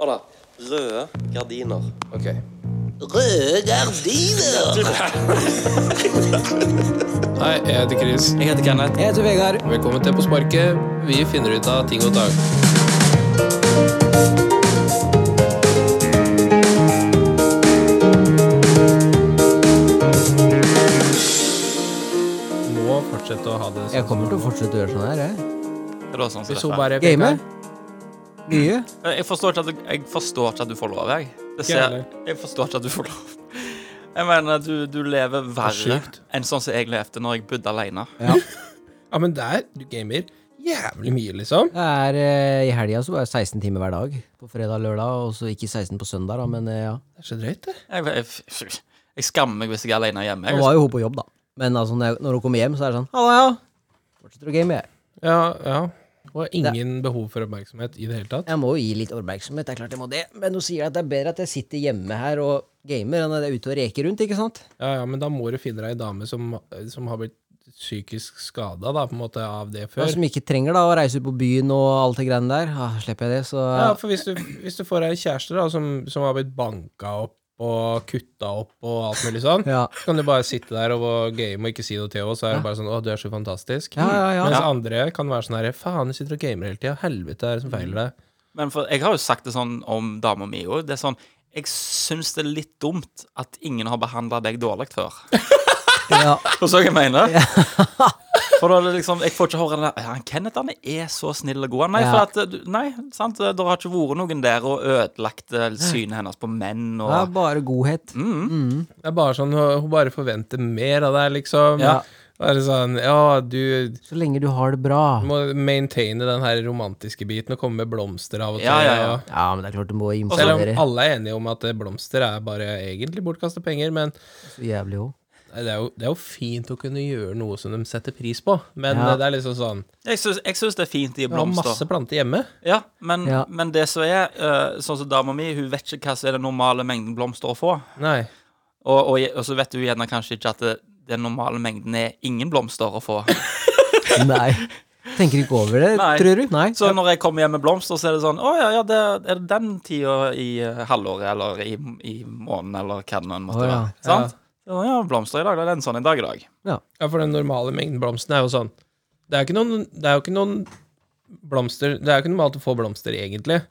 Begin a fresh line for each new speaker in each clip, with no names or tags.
Hør da. Røde gardiner.
Ok.
Røde gardiner!
Hei, jeg heter Chris.
Jeg heter Kenneth.
Jeg heter Vegard.
Velkommen til På sparket. Vi finner ut av ting og tang. Må fortsette å ha det sånn.
Jeg kommer til å fortsette å gjøre sånn her. Jeg.
Det var sånn som
Hvis hun
dette.
bare peker-
Game? Mye?
Men Jeg forstår ikke at du, jeg forstår ikke at du får lov, jeg.
Ikke
Det ser,
heller.
jeg forstår ikke at du får lov. Jeg mener, du, du lever verre
sjukt.
enn sånn som jeg levde når jeg bodde alene.
Ja, men der, du gamer jævlig mye, liksom.
Det er, eh, I helga så var det 16 timer hver dag. På fredag og lørdag, og så ikke 16 på søndag, da, men eh, ja.
Det er så drøyt, det.
Jeg, jeg, jeg skammer meg hvis jeg er alene hjemme.
Nå
Jeg,
var jo hun på jobb, da. Men altså, når jeg- når hun kommer hjem, så er det sånn Halla, ja. Fortsetter å game, jeg.
Ja, ja. Og ingen behov for oppmerksomhet i det hele tatt.
Jeg må jo gi litt oppmerksomhet, det er klart jeg må det. Men hun sier at det er bedre at jeg sitter hjemme her og gamer, enn at jeg er ute og reker rundt, ikke sant?
Ja, ja, men da må du finne deg ei dame som, som har blitt psykisk skada, da, på en måte, av det
Og
før.
som ikke trenger da å reise ut på byen og alt det greiene der. Ah, slipper jeg det, så
Ja, for hvis du, hvis du får ei kjæreste da, som, som har blitt banka opp og kutta opp og alt mulig sånn,
Ja.
så kan du bare sitte der og game og ikke si noe til henne, så er det bare sånn 'Å, du er så fantastisk'.
Ja, ja, ja.
Mens
Ja.
andre kan være sånn herre 'Faen, du sitter og gamer hele tida. Helvete, er det som
Mm.
feiler deg?'
men for, jeg har jo sagt det sånn om dama mi òg. Det er sånn Jeg syns det er litt dumt at ingen har behandla deg dårlig før.
ja.
Forstår du hva jeg mener? For da er det liksom Jeg får ikke høre den der ja, han Kenneth han er så snill og god. Nei,
Ja.
for at eh, du- Nei, sant. Det har ikke vært noen der og ødelagt eh, synet hennes på menn og
Det er bare godhet.
Det er bare sånn Hun hun bare forventer mer av deg, liksom.
Ja.
Bare sånn 'Ja, du
Så lenge du har det bra.
må maintaine den her romantiske biten og komme med blomster av og til'.
Ja, ja, ja.
og-
Ja, men det er klart du må
Selv om
imponere.
alle er enige om at eh, blomster er bare egentlig bortkasta penger, men
Så jævlig òg.
Nei, Det er, jo, det er jo fint å kunne gjøre noe som de setter pris på, men
Ja.
eh, det er liksom sånn
Jeg syns, jeg syns det er fint i
Jeg har
blomster.
masse planter hjemme.
Ja, men,
Ja.
men det som er, eh, sånn som dama mi, hun vet ikke hva som er den normale mengden blomster å få.
Nei.
Og, og, og så vet hun gjerne kanskje ikke at det, den normale mengden er ingen blomster å få.
Nei. Tenker ikke over det,
Nei.
tror du? Nei.
Så når jeg kommer hjem med blomster, så er det sånn Å ja, ja, det er det den tida i eh, halvåret, eller i, i måneden, eller hva det nå enn måtte
Å,
være.
ja.
Sant? Ja. ja, blomster i dag. Det er en sånn en dag i dag.
Ja, for den normale mengden blomster er jo sånn Det er, ikke noen, det er jo ikke noen blomster Det er jo ikke normalt å få blomster, egentlig.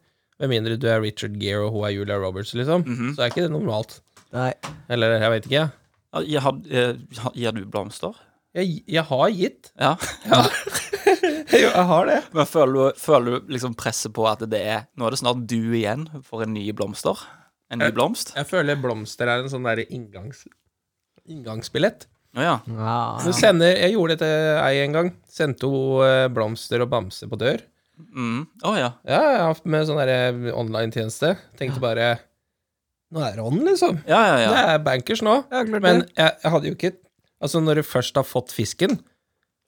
Med mindre du er Richard Gere og hun er Julia Roberts, liksom. Så er ikke det normalt.
Nei.
Eller jeg vet ikke, jeg.
Ja, jeg har- eh, har- Gir du blomster?
Jeg, jeg har gitt.
Ja.
Jo, jeg har det.
Men føler du, føler du liksom presset på at det er Nå er det snart du igjen for en ny blomster? En ny blomst?
Jeg føler blomster er en sånn derre inngangs, inngangsbillett.
Å ja.
Ja.
Du sender, jeg gjorde det til ei en gang. Sendte hun eh, blomster og bamse på dør.
Mm. Å ja.
Ja, jeg har hatt med sånn der online-tjeneste. Tenkte bare Nå er det on, liksom.
Ja, ja,
Det
ja.
er bankers nå. Men jeg, jeg hadde jo ikke Altså, når du først har fått fisken,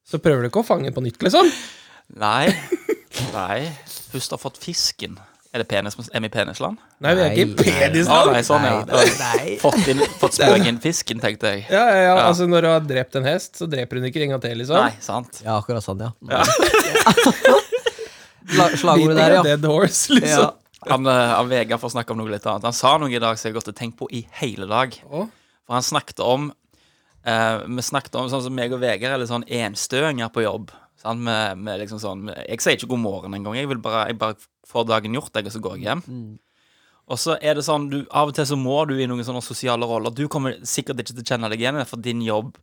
så prøver du ikke å fange den på nytt, liksom.
Nei. Nei. Først har fått fisken. Er det penis, er vi i penisland?
Nei, vi er ikke i
Nei,
Å
nei.
penisland.
nei, sånn, ja.
Nei, nei.
Fått, inn, fått spøk inn fisken, tenkte jeg.
Ja, ja, ja,
Ja.
altså Når du har drept en hest, så dreper hun ikke en gang til, liksom.
Nei, sant.
Ja, akkurat sånn, ja. Sla- Slagordet
Beating
der,
a
ja.
dead horse, liksom.
Han, eh, han Vegard får snakke om noe litt annet. Han sa noe i dag som jeg har gått og tenkt på i hele dag.
Å?
For han snakket om eh, Vi snakket om sånn som meg og Vegard er litt sånn enstøinger på jobb. Sant? Med, med liksom sånn, jeg sier ikke god morgen engang. Jeg vil bare, jeg bare får dagen gjort, jeg, og så går jeg hjem. Og så er det sånn, du, Av og til så må du i noen sånne sosiale roller. Du kommer sikkert ikke til å kjenne deg igjen, i det, for din jobb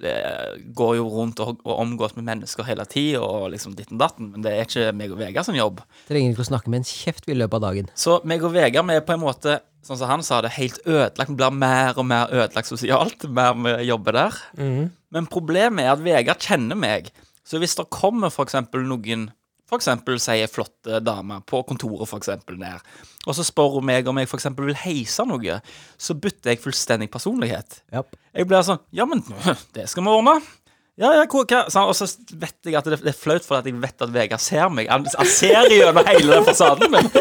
eh, går jo rundt og, og omgås med mennesker hele tida, og liksom ditten datten. Men det er ikke meg og Vegard sin jobb.
Trenger ikke å snakke med en kjeft i løpet av dagen.
Så meg og Vegard vi er på en måte, sånn som han sa det, helt ødelagt. Vi blir mer og mer ødelagt sosialt mer vi jobber der. Men problemet er at Vegard kjenner meg. Så hvis det kommer for eksempel noen for eksempel sier flotte dame på kontoret for eksempel ned, og så spør hun meg om jeg for eksempel vil heise noe, så bytter jeg fullstendig personlighet.
Japp.
Jeg blir sånn Ja, men det skal vi ordne. Ja, ja, hva, hva? Sånn, og så vet jeg at det, det er flaut, for at jeg vet at Vegard ser meg. Han, han ser gjennom hele den fasaden min.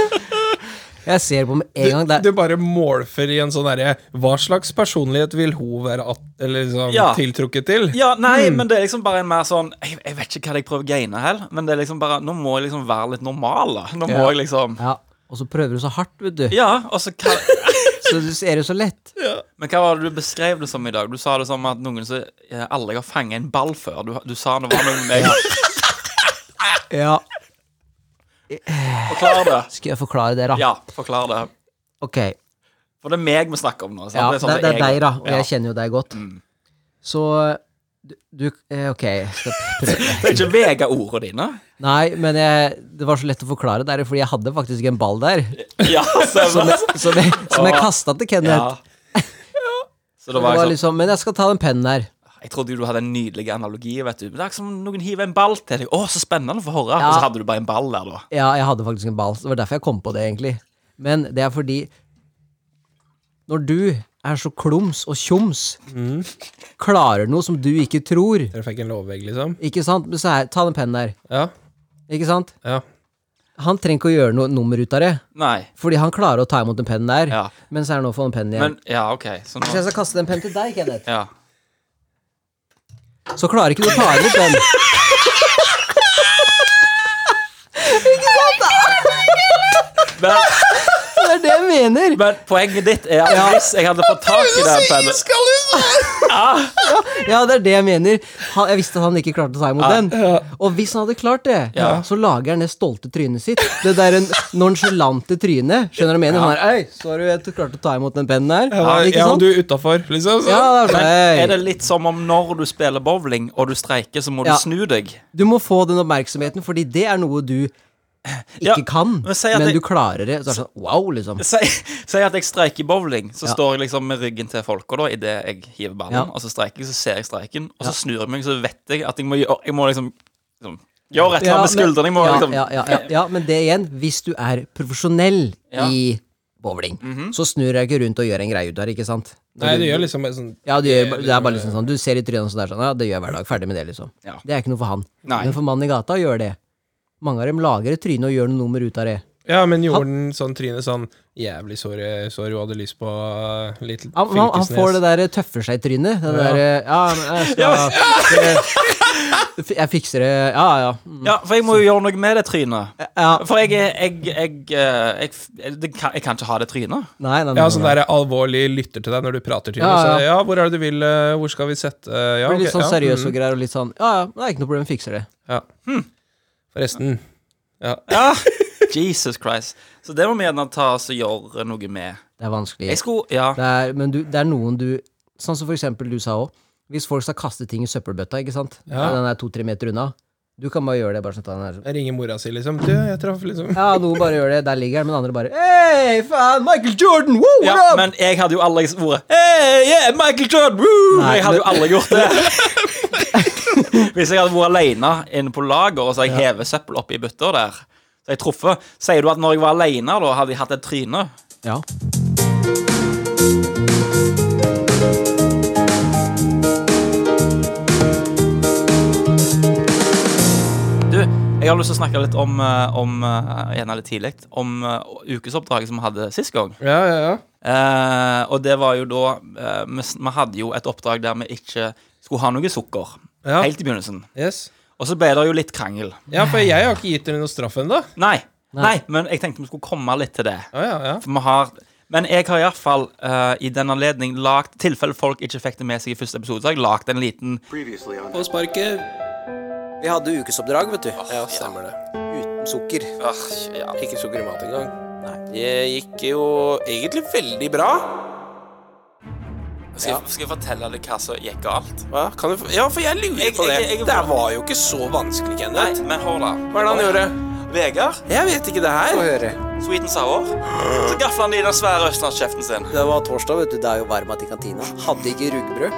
Jeg ser på med en gang.
Du
Det er,
bare målfører i en sånn derre Hva slags personlighet vil hun være at, eller liksom,
Ja.
tiltrukket til?
Ja, nei,
Hmm.
men det er liksom bare en mer sånn Jeg, jeg vet ikke hva jeg prøver å gaine her, men det er liksom bare Nå må jeg liksom være litt normal, da. Nå må jeg liksom
ja. Og så prøver du så hardt, vet du.
Ja, og så hva,
Så du ser det så lett.
Men hva var det du beskrev det som i dag? Du sa det som at noen som eh, aldri har fanget en ball før. Du, du sa det var noe med meg.
Ja.
Forklar det.
Skal jeg forklare det, da?
Ja, forklar det.
Ok.
For det er meg vi snakker om nå. Sant?
Ja, det,
sånn
det,
som
er deg,
jeg-
da. Og
Ja.
jeg kjenner jo deg godt. Så du, du eh, Ok. jeg Skal prøve.
Det er ikke vega ordene dine.
Nei, men jeg, det var så lett å forklare det, fordi jeg hadde faktisk en ball der.
Ja,
Som
stemmer.
jeg, som jeg, som jeg kasta til
Ja.
Kenneth.
Så
Det
det
var
var liksom,
liksom, men jeg skal ta den pennen her.
Jeg trodde jo du hadde en nydelig analogi. vet du Men Det er ikke som om noen hiver en ball til deg. Å, så spennende for å høre.
Ja.
Og så hadde du bare en ball der, da.
Ja, jeg hadde faktisk en ball. så Det var derfor jeg kom på det, egentlig. Men det er fordi Når du er så klums og tjoms,
Mm.
klarer noe som du ikke tror
Dere fikk en lovvegg, liksom?
Ikke sant? Men så her, ta den pennen der.
Ja.
Ikke sant?
ja.
Han trenger ikke å gjøre noe nummer ut av det,
Nei.
fordi han klarer å ta imot den pennen der.
Ja.
Men så er det nå å få den pennen igjen.
Men ja, OK. Så
Hvis
nå
jeg skal kaste den pennen til deg, Kenneth,
Ja.
så klarer ikke du å ta imot den.
Men,
Det er det jeg mener!
men poenget ditt er at hvis jeg hadde fått tak i den pennen
Ja, det er det jeg mener. Han, jeg visste at han ikke klarte å ta imot den. Og hvis han hadde klart det,
Ja.
så lager han det stolte trynet sitt. Det der en nonchalante trynet. Skjønner du hva jeg mener? Sånn her, Øy, sorry at du klarte å ta imot den pennen her.
Ja,
ikke
og
sant?
du utafor, liksom? Så.
Ja, det er sånn, «Øy,
Er det litt som om når du spiller bowling og du streiker, så må
Ja.
du snu deg?
Du må få den oppmerksomheten, fordi det er noe du
Ja,
ikke kan,
men si at
men
jeg-
du klarer det. Så er det sånn, wow, liksom.
Si, si at jeg streiker i bowling, så
Ja.
står jeg liksom med ryggen til folka da idet jeg hiver ballen,
Ja.
og så streiker jeg, så ser jeg streiken, og så snur jeg meg, så vet jeg at jeg må, gjøre- jeg må liksom, liksom Gjøre et eller annet
Ja,
med
men-
skuldrene. Jeg må
ja,
liksom
ja, ja, ja, ja, men det igjen, hvis du er profesjonell
Ja. Mhm.
i bowling, så snur jeg ikke rundt og gjør en greie ut av det, ikke sant?
Nei, det gjør liksom en sånn
Ja, du gjør, det er bare liksom sånn Du ser i trynet og sånn der sånn, ja, det gjør jeg hver dag. Ferdig med det, liksom.
Ja.
Det er ikke noe for han.
Nei.
Men for mannen i gata gjør det. Mange av dem lager et tryne og gjør noe nummer ut av det.
Ja, men gjorde den sånn trynet sånn Jævlig sorry, sorry, hun hadde lyst på eh, litt
Han, han, han får det der tøffer seg-trynet. Det der eh, Ja, men jeg skal det, Jeg fikser det Ja, ja. Mm.
Ja, for jeg må jo gjøre noe med det trynet.
ja.
For jeg er- jeg, jeg, eh, jeg, det kan, jeg kan ikke ha det trynet.
Nei, nei, nei.
Ja,
nei,
sånn
nei.
der alvorlig lytter til deg når du prater til
Ja,
henne.
ja.
Så, ja, hvor er det du vil, eh, hvor skal vi sette eh, ja,
Blir litt
ok, ja,
sånn seriøs
mm,
og Hm. greier, og litt sånn Ja, ja, det er ikke noe problem, fikser det.
ja. Forresten.
Ja, Jesus Christ. Så det må vi gjerne ta oss og gjøre noe med.
Det er vanskelig.
Jeg skulle Ja.
Det er, men du, det er noen du Sånn som for eksempel du sa òg. Hvis folk skal kaste ting i søppelbøtta, ikke sant.
Ja.
Den er to-tre meter unna. Du kan bare gjøre det. Bare sånn, at den er,
Jeg ringer mora si, liksom. Du, jeg traff liksom
ja, noen bare gjør det. Der ligger den, men andre bare Hei, faen, Michael Jordan! Woo, what
Ja,
up?
men jeg hadde jo aldri vært hey, yeah, Michael Jordan! Woo!
Nei,
jeg hadde
men-
jo aldri gjort det. Hvis jeg hadde vært alene inne på lager og så jeg hever søppel oppi bytter der Så jeg truffet Sier du at når jeg var alene, da hadde jeg hatt et tryne?
Ja.
Du, jeg har lyst til å snakke litt om, eh, om eh, en av litt tidlig, om eh, ukesoppdraget som vi hadde sist gang.
Ja, ja, ja.
Eh, og det var jo da eh, vi, s- vi hadde jo et oppdrag der vi ikke skulle ha noe sukker.
Ja.
Helt i begynnelsen.
Yes.
Og så ble det jo litt krangel.
Ja, for jeg har ikke gitt dere noe straff ennå.
Nei, nei, men jeg tenkte vi skulle komme litt til det.
Ja, ja, ja.
For vi har Men jeg har iallfall uh, i den anledning lagt tilfelle folk ikke fikk det med seg i første episode, så har jeg lagt en liten
På sparket.
Vi hadde ukesoppdrag, vet du. Ja, stemmer det. Uten sukker. Ah, ja. Ikke sukker i mat engang. Nei. Det gikk jo egentlig veldig bra.
skal, jeg, fortelle deg hva som gikk galt?
Hva? Kan du, f- ja, for jeg lurer
Jeg-
på det.
jeg- jeg-
det her var jo ikke så vanskelig,
Nei,
Kenneth.
men hør, da.
Hva er det han gjorde?
Vegard,
Jeg vet ikke det her.
sweet and sour, så gafla han i den svære østlandskjeften sin.
Det var torsdag, vet du. Det er jo varmt i kantina. Hadde ikke rugbrød.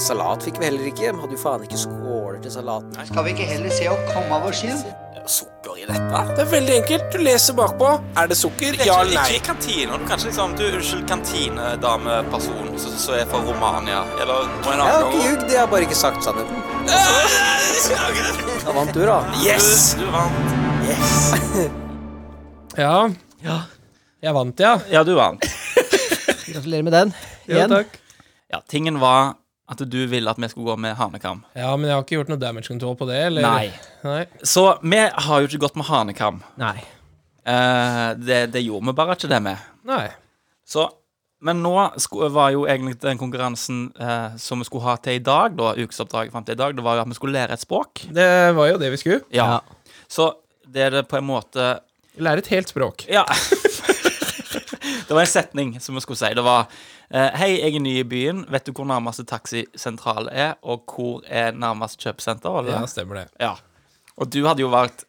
Salat fikk vi heller ikke. Vi hadde jo faen ikke skåler til salaten.
Skal vi ikke heller se å komme over skyen?
Sukker i dette? Det er veldig enkelt. Du leser bakpå. Er det sukker? Ja eller nei?
Ikke i kantina. Du kan ikke liksom Du er unnskyld kantinedameperson som som er fra Romania, eller noe en
Jeg har ikke
gang.
ljugd. Jeg har bare ikke sagt sannheten. Da vant du, da. Yes!
Du, du vant.
Ja. Jeg vant, ja.
Ja, du vant.
Gratulerer med den.
Jo,
Igjen.
takk.
Ja, tingen var at du ville at vi skulle gå med hanekam.
Ja, men jeg har ikke gjort noe damage control på det, eller?
Nei.
Nei.
Så vi har jo ikke gått med hanekam.
Nei.
Eh, Eh, det, det gjorde vi bare ikke det med.
Nei.
Så, men nå sku- var jo egentlig den konkurransen eh, som vi skulle ha til i dag, da, ukesoppdraget fram til i dag, det var jo at vi skulle lære et språk.
Det var jo det vi skulle.
Ja. Så det er det på en måte
Lære et helt språk.
Ja. det var en setning som vi skulle si. Det var eh, Hei, jeg er ny i byen. Vet du hvor nærmeste taxisentral er, og hvor er nærmest kjøpesenter? var det
Ja,
det?
stemmer det.
Ja. Og du hadde jo valgt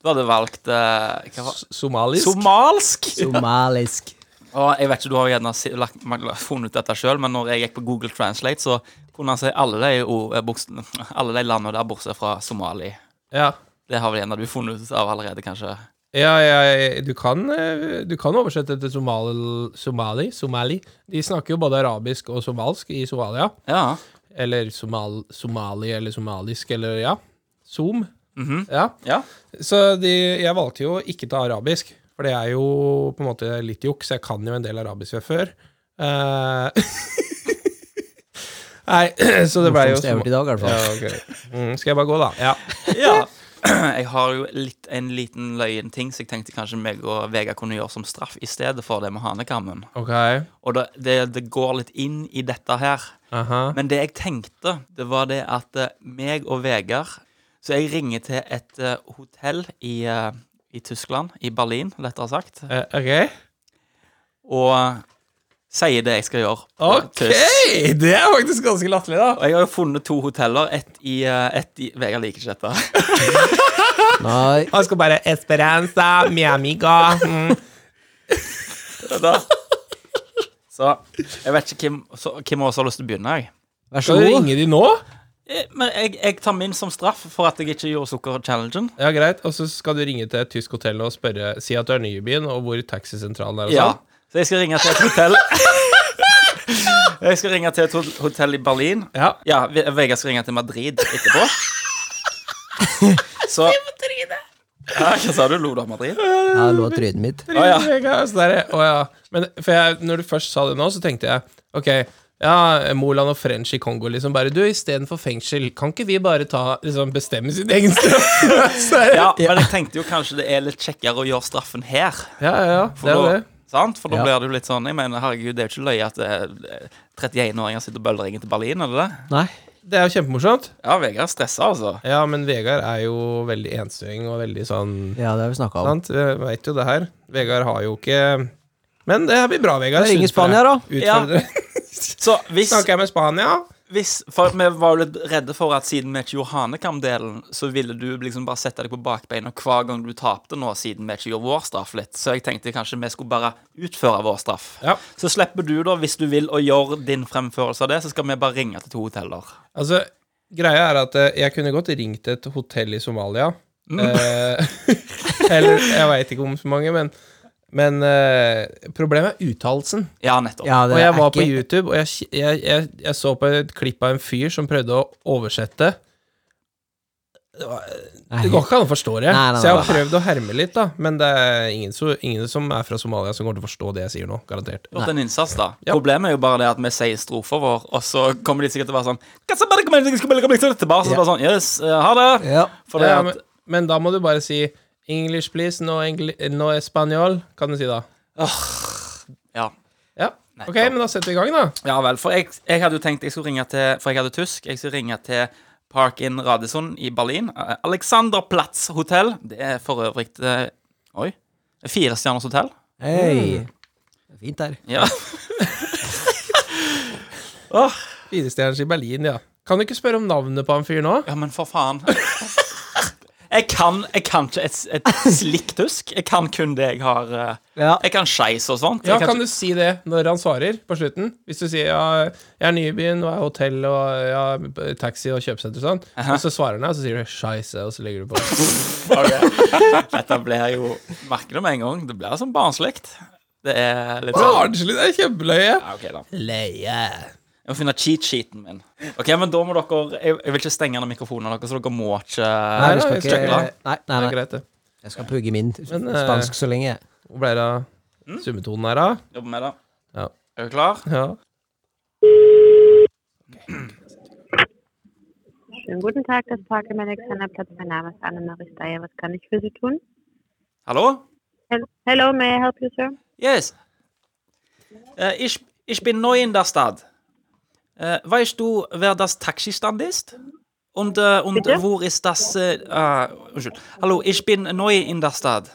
Du hadde valgt eh, hva var?
S- Somalisk.
Somalisk!
Somalisk.
Og jeg vet ikke, Du har jo gjerne si- lagt, lagt- funnet ut dette sjøl, men når jeg gikk på Google Translate, så kunne han si alle de, ord- eh, bokstavene- alle de landene der bortsett fra Somali.
ja.
Det har vel en av du funnet ut av allerede, kanskje?
Ja, ja, ja, du kan, eh, du kan oversette til somali, somali, somali. De snakker jo både arabisk og somalsk i Somalia.
Ja.
Eller somal, somali eller somalisk, eller ja. Som.
Mhm.
Ja.
ja.
Så de, jeg valgte jo ikke ta arabisk, for det er jo på en måte litt juks. Jeg kan jo en del arabisk fra før. Eh, Nei, så det blei jo
Morsomst jeg har hørt i dag, i hvert fall.
Ja, ok. mm, skal jeg bare gå, da? Ja.
Ja. Jeg har jo litt, en liten løyen ting, så jeg tenkte kanskje meg og Vegard kunne gjøre som straff i stedet for det med hanekammen.
Ok.
Og det, det, det går litt inn i dette her.
Aha.
Men det jeg tenkte, det var det at eh, meg og Vegard Så jeg ringer til et eh, hotell i, eh, i Tyskland, i Berlin, lettere sagt,
Eh, ok.
og sier det jeg skal gjøre. på
Ok!
tysk.
Det er faktisk ganske latterlig, da.
Og jeg har jo funnet to hoteller. Ett i, eh, ett i Vegard liker ikke dette.
Nei,
Han skal bare Esperanza, mi amiga mm.
Da. Så jeg vet ikke hvem, så, hvem av oss har lyst til å begynne. Jeg.
vær så
Skal du
god.
ringe de nå?
Eh, Men jeg, jeg tar min som straff for at jeg ikke gjorde sukkerchallengen.
Ja, greit. Og så skal du ringe til et tysk hotell og spørre Si at du er ny i byen, og hvor taxisentralen er og
Ja.
sånn.
Så jeg skal ringe til et hotell. jeg skal ringe til et hot- hotell i Berlin.
Ja.
Ja, Ve- Vegard skal ringe til Madrid etterpå. Så ja, Hva sa du? Lo du av Madrid?
Ja, det lå trynet mitt.
Å ja. Så der, å, ja. Men for jeg, når du først sa det nå, så tenkte jeg OK, ja, Moland og French i Kongo, liksom. Bare du, istedenfor fengsel, kan ikke vi bare ta liksom, bestemme sin egen straff? Så er det-
Ja, Men jeg tenkte jo kanskje det er litt kjekkere å gjøre straffen her.
ja, ja, ja.
For
Det er jo
da,
det.
Sant? For da
Ja.
blir det jo litt sånn Jeg mener, herregud, det er jo ikke løye at eh, 31-åringer sitter og bølleringer til Berlin, er det det?
Nei.
Det er jo kjempemorsomt.
Ja, Vegard er stressa, altså.
Ja, men Vegard er jo veldig enstøing og veldig sånn
Ja, det har vi snakka om.
Sant? Jeg vet jo det her. Vegard har jo ikke Men det her blir bra, Vegard.
Da ringer Spania, da.
Utfordre.
Så hvis,
Snakker jeg med Spania?
hvis For vi var jo litt redde for at siden vi ikke gjorde hanekam-delen, så ville du liksom bare sette deg på bakbeina hver gang du tapte nå, siden vi ikke gjorde vår straff litt. Så jeg tenkte kanskje vi skulle bare utføre vår straff.
Ja.
Så slipper du, da, hvis du vil, å gjøre din fremførelse av det, så skal vi bare ringe til to hoteller.
Altså, greia er at eh, jeg kunne godt ringt et hotell i Somalia.
Mm.
Eh, eller jeg veit ikke om så mange, men men eh, problemet er uttalelsen.
Ja, nettopp.
Ja, det
Og jeg
er
var på
ikke-
YouTube, og jeg, jeg, jeg, jeg så på et klipp av en fyr som prøvde å oversette. Det går ikke an å forstå det.
Nei, nei,
så jeg
nei.
har prøvd å herme litt, da. Men det er ingen, så, ingen som er fra Somalia som kommer til å forstå det jeg sier nå. Garantert.
Gjort en innsats, da. Problemet er jo bare det at vi sier strofa vår, og så kommer de sikkert til å være sånn «Hva så bare kommer jeg til å skulle bare komme tilbake?» Så bare sånn Yes, eh, ha det!
Ja.
For det
ja,
at
men, men da må du bare si English, please. No, engli no espanol, kan du si da.
Ja.
Ja. Ok, men da setter vi i gang, da.
Ja vel. For jeg, jeg hadde jo tenkt jeg skulle ringe til For jeg hadde tysk. Jeg skulle ringe til Park in Radisson i Berlin. eh, Alexanderplatz hotell. Det er for øvrig eh, Oi. Firestjerners hotell.
Hei. Det er Fint der.
Ja.
Firestjerners i Berlin, ja. Kan du ikke spørre om navnet på han fyren nå?
ja, men for faen. Jeg kan, jeg kan ikke et, et slikt tysk. Jeg kan kun det jeg har eh,
Ja.
Jeg kan skeis og sånt.
Ja,
jeg
kan du si det når han svarer på slutten? Hvis du sier ja, 'jeg er ny i byen, og jeg er hotell og jeg har taxi og kjøpesenter' og sånn, og så svarer han deg, og så sier du 'scheisse', og så legger du på.
Dette blir jo Merker det med en gang. Det blir sånn barnslig. Det er litt sånn
Barnslig! Det er kjempeløye!
ja, ok da.
Løye.
Jeg må finne cheat-sheeten min. Ok, men da må dere Jeg, jeg vil ikke stenge ned mikrofonen deres, så dere må ikke
Nei,
Nei,
vi skal
jeg
ikke
skal
Nei,
ikke.
nei,
Det er
nei.
greit, det.
Jeg skal pugge min
Men, eh,
spansk så lenge. jeg.
Hvor ble det
Mm.
av summetonen her, da?
jobbe med det.
Ja.
Er du klar?
Ja.
Schönen guten Tag, das Park im Alexanderplatz. Mein Name ist Annemarie Steyer. Was kann ich für Sie tun?
Hallo?
Hel- Hello, may I help you, sir?
Yes. Äh, ich, ich bin neu in der Stadt. Äh, weißt du, wer das Taxistand ist? Und, äh, und
Bitte?
wo ist das? Äh, äh, Entschuldigung. Hallo, ich bin neu in der Stadt.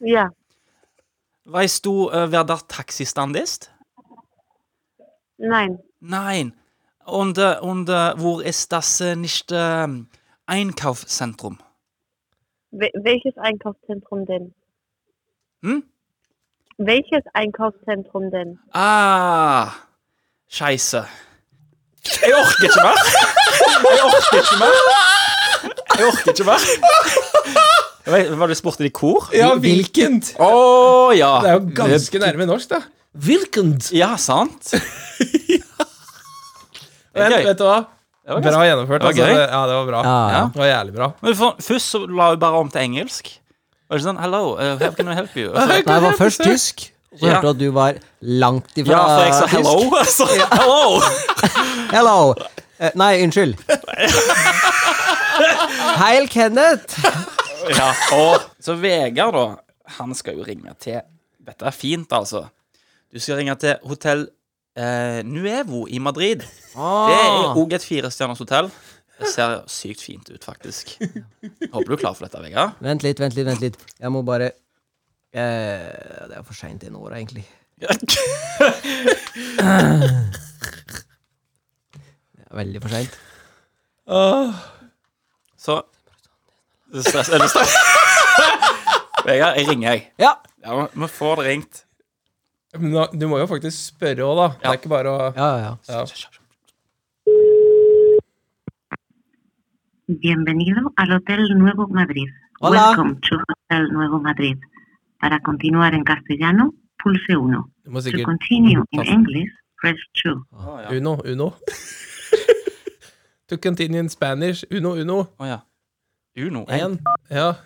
Yeah.
Weißt du, äh, wer das Taxistand ist?
Nein.
Nein. Und, äh, und äh, wo ist das äh, nicht ähm, Einkaufszentrum?
Wel welches Einkaufszentrum denn?
Hm?
Welches Einkaufszentrum denn?
Ah, scheiße. Jeg orker ikke mer. Jeg orker ikke mer. Jeg orker ikke mer. Vet- Var det spurte de hvor? Å
Ja, hvilkent?
Oh, ja.
Det er jo ganske nærme norsk, da. Hvilkent?
Ja, sant?
Vet,
Gøy.
vet du hva?
var ganske-
Bra gjennomført. Altså.
Det var gøy.
Det, ja, det var bra.
Ja, ja.
Det var jævlig bra.
Men for, først så la hun bare om til engelsk. Var det sånn Hello, uh, how can I help you? Og så-
Nei, det var først tysk, og så
Ja.
hørte du at du var langt ifra
ja, for jeg sa
tysk.
hello. Så, hello.
Hello. Eh, nei, unnskyld. Heil Kenneth.
Ja, og så Vegard, da, han skal jo ringe til Dette er fint, altså. Du skal ringe til hotell eh, Nuevo i Madrid. Det er òg et firestjerners hotell. Det ser sykt fint ut, faktisk. Håper du er klar for dette, Vegard.
Vent litt, vent litt, vent litt. Jeg må bare eh, Det er for seint i nå, egentlig. Det er Veldig for seint.
Så Er du stress- Er du stress? Vegard, jeg ringer, jeg.
Ja.
Ja, men Vi får det ringt.
Men da, du må jo faktisk spørre òg, da. Det er ikke bare å
Ja, ja, ja.
ja.
Bienvenido al Hotel Nuevo Madrid.
Hola.
Welcome to Hotel Nuevo Madrid. Para continuar en castellano, pulse 1.
Du må
To
sikkert
continue in
Awesome.
English, press 2.
Å ja.
Uno, uno. to continue in Spanish. Uno, uno.
Å, ja. Uno.
Én. Ja.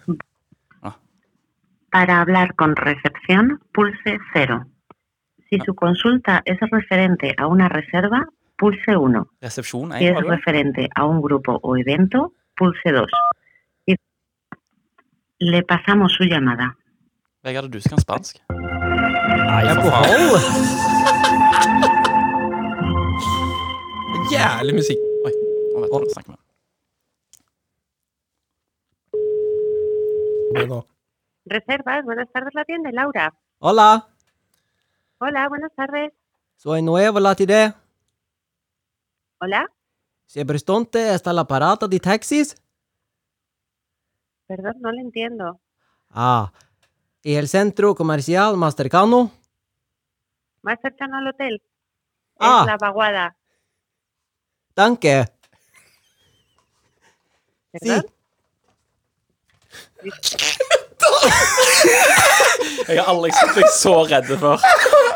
Para hablar con recepción, pulse 0. Si su consulta es referente a una reserva, pulse 1.
Resepsjon
Si
én,
es
var det?
referente a un grupo o evento, pulse 2. Le pasamos su llamada.
Vegard, er det du som kan spansk?
Nei, jeg er på hall! Jævlig musikk.
Oi, nå vet jeg hva jeg snakker med.
det nå.
Reservas, buenas tardes, la tienda, Laura.
Hola.
Hola, buenas tardes.
Soy nuevo latide.
Hola,
Siempre estonte hasta la parada de taxis.
perdón, no le entiendo.
Ah. Y el centro comercial más cercano.
Más cercano al hotel.
Ah.
Es la vaguada.
Danke. Sí.
¿Verdad?
Jeg har aldri sett deg så redd før.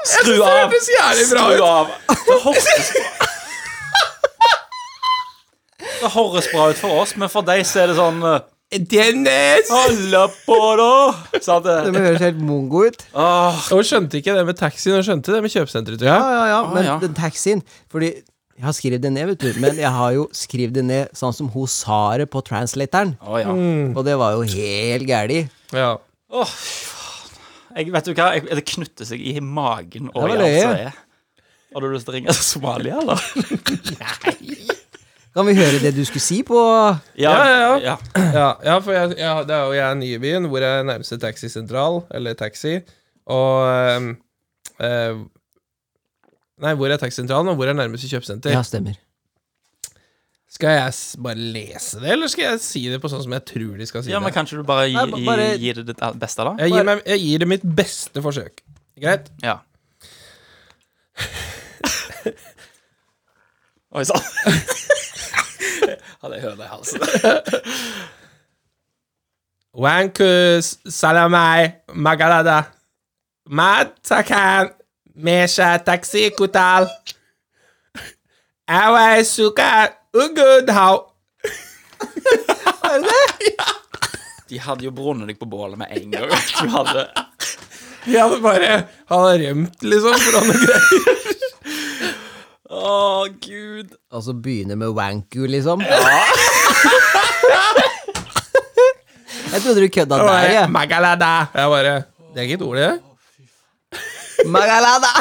Skru av!
hørtes jævlig bra
Skru av! Det høres Det høres bra ut for oss, men for deg så er det sånn eh,
Dennis!
Holde på, da! Sant
Det
det?
høres helt mongo ut.
Åh,
Hun skjønte ikke det med taxien, hun skjønte det med kjøpesenteret, tror jeg.
Ja, Ah, ja, ja, men
ja.
den taxien Fordi jeg har skrevet det ned, vet du. Men jeg har jo skrevet det ned sånn som hun sa det på translatoren.
Å ja.
Og det var jo helt gæli.
Ja.
Åh, faen. jeg, vet du hva? Jeg, det knytter seg i magen og i
Det var
alt som
løye.
er. Har du lyst til å ringe til Somalia, eller?
Kan vi høre det du skulle si på
Ja, ja,
ja.
Ja, ja for jeg, ja, det er jo jeg er ny i byen, hvor jeg er nærmeste taxisentral, eller taxi, og ehm, eh, Nei, hvor er taxisentralen, og hvor er nærmeste kjøpesenter?
Ja, stemmer.
Skal jeg s- bare lese det, eller skal jeg si det på sånn som jeg tror de skal si
ja, men
det?
Kan ikke du bare gi,
Nei,
gi,
bare-
gi det ditt beste, da?
Jeg gir, meg, jeg gir det mitt beste forsøk. Greit?
Ja. Oi sann. Hadde jeg høne i halsen.
Wankus, salamai, magalada. Matakan, mesha taxi kutal. Awai suka, ugud hau.
De hadde jo brunnet deg på bålet med en gang. Du hadde
De hadde bare Han har rømt, liksom, fra noe greier.
Å, gud.
Og så Altså, begynne med wanku, liksom. jeg trodde du kødda der,
Bare,
jeg.
Magalada. Jeg bare Det er ikke et ord, det.
Magalada!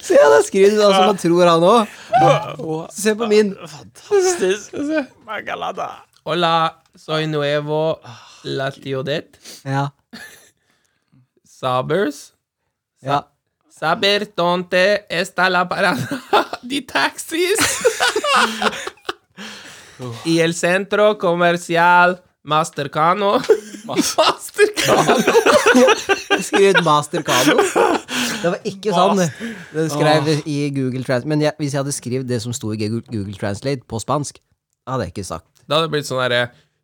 Se, han har skrevet sånn som han tror, han òg. Se på min.
Fantastisk. Magalada.
Hola, soy nuevo latiodet.
Ja.
Sabers.
ja.
Saber donde está la parada de taxis. y el centro comercial Mastercano. Mastercano.
Skrevet Mastercado. Det var ikke sånn det skrev i Google Translate. Men jeg, hvis jeg hadde skrevet det som sto i Google Google Translate på spansk, hadde jeg ikke sagt
Da hadde det blitt sånn herre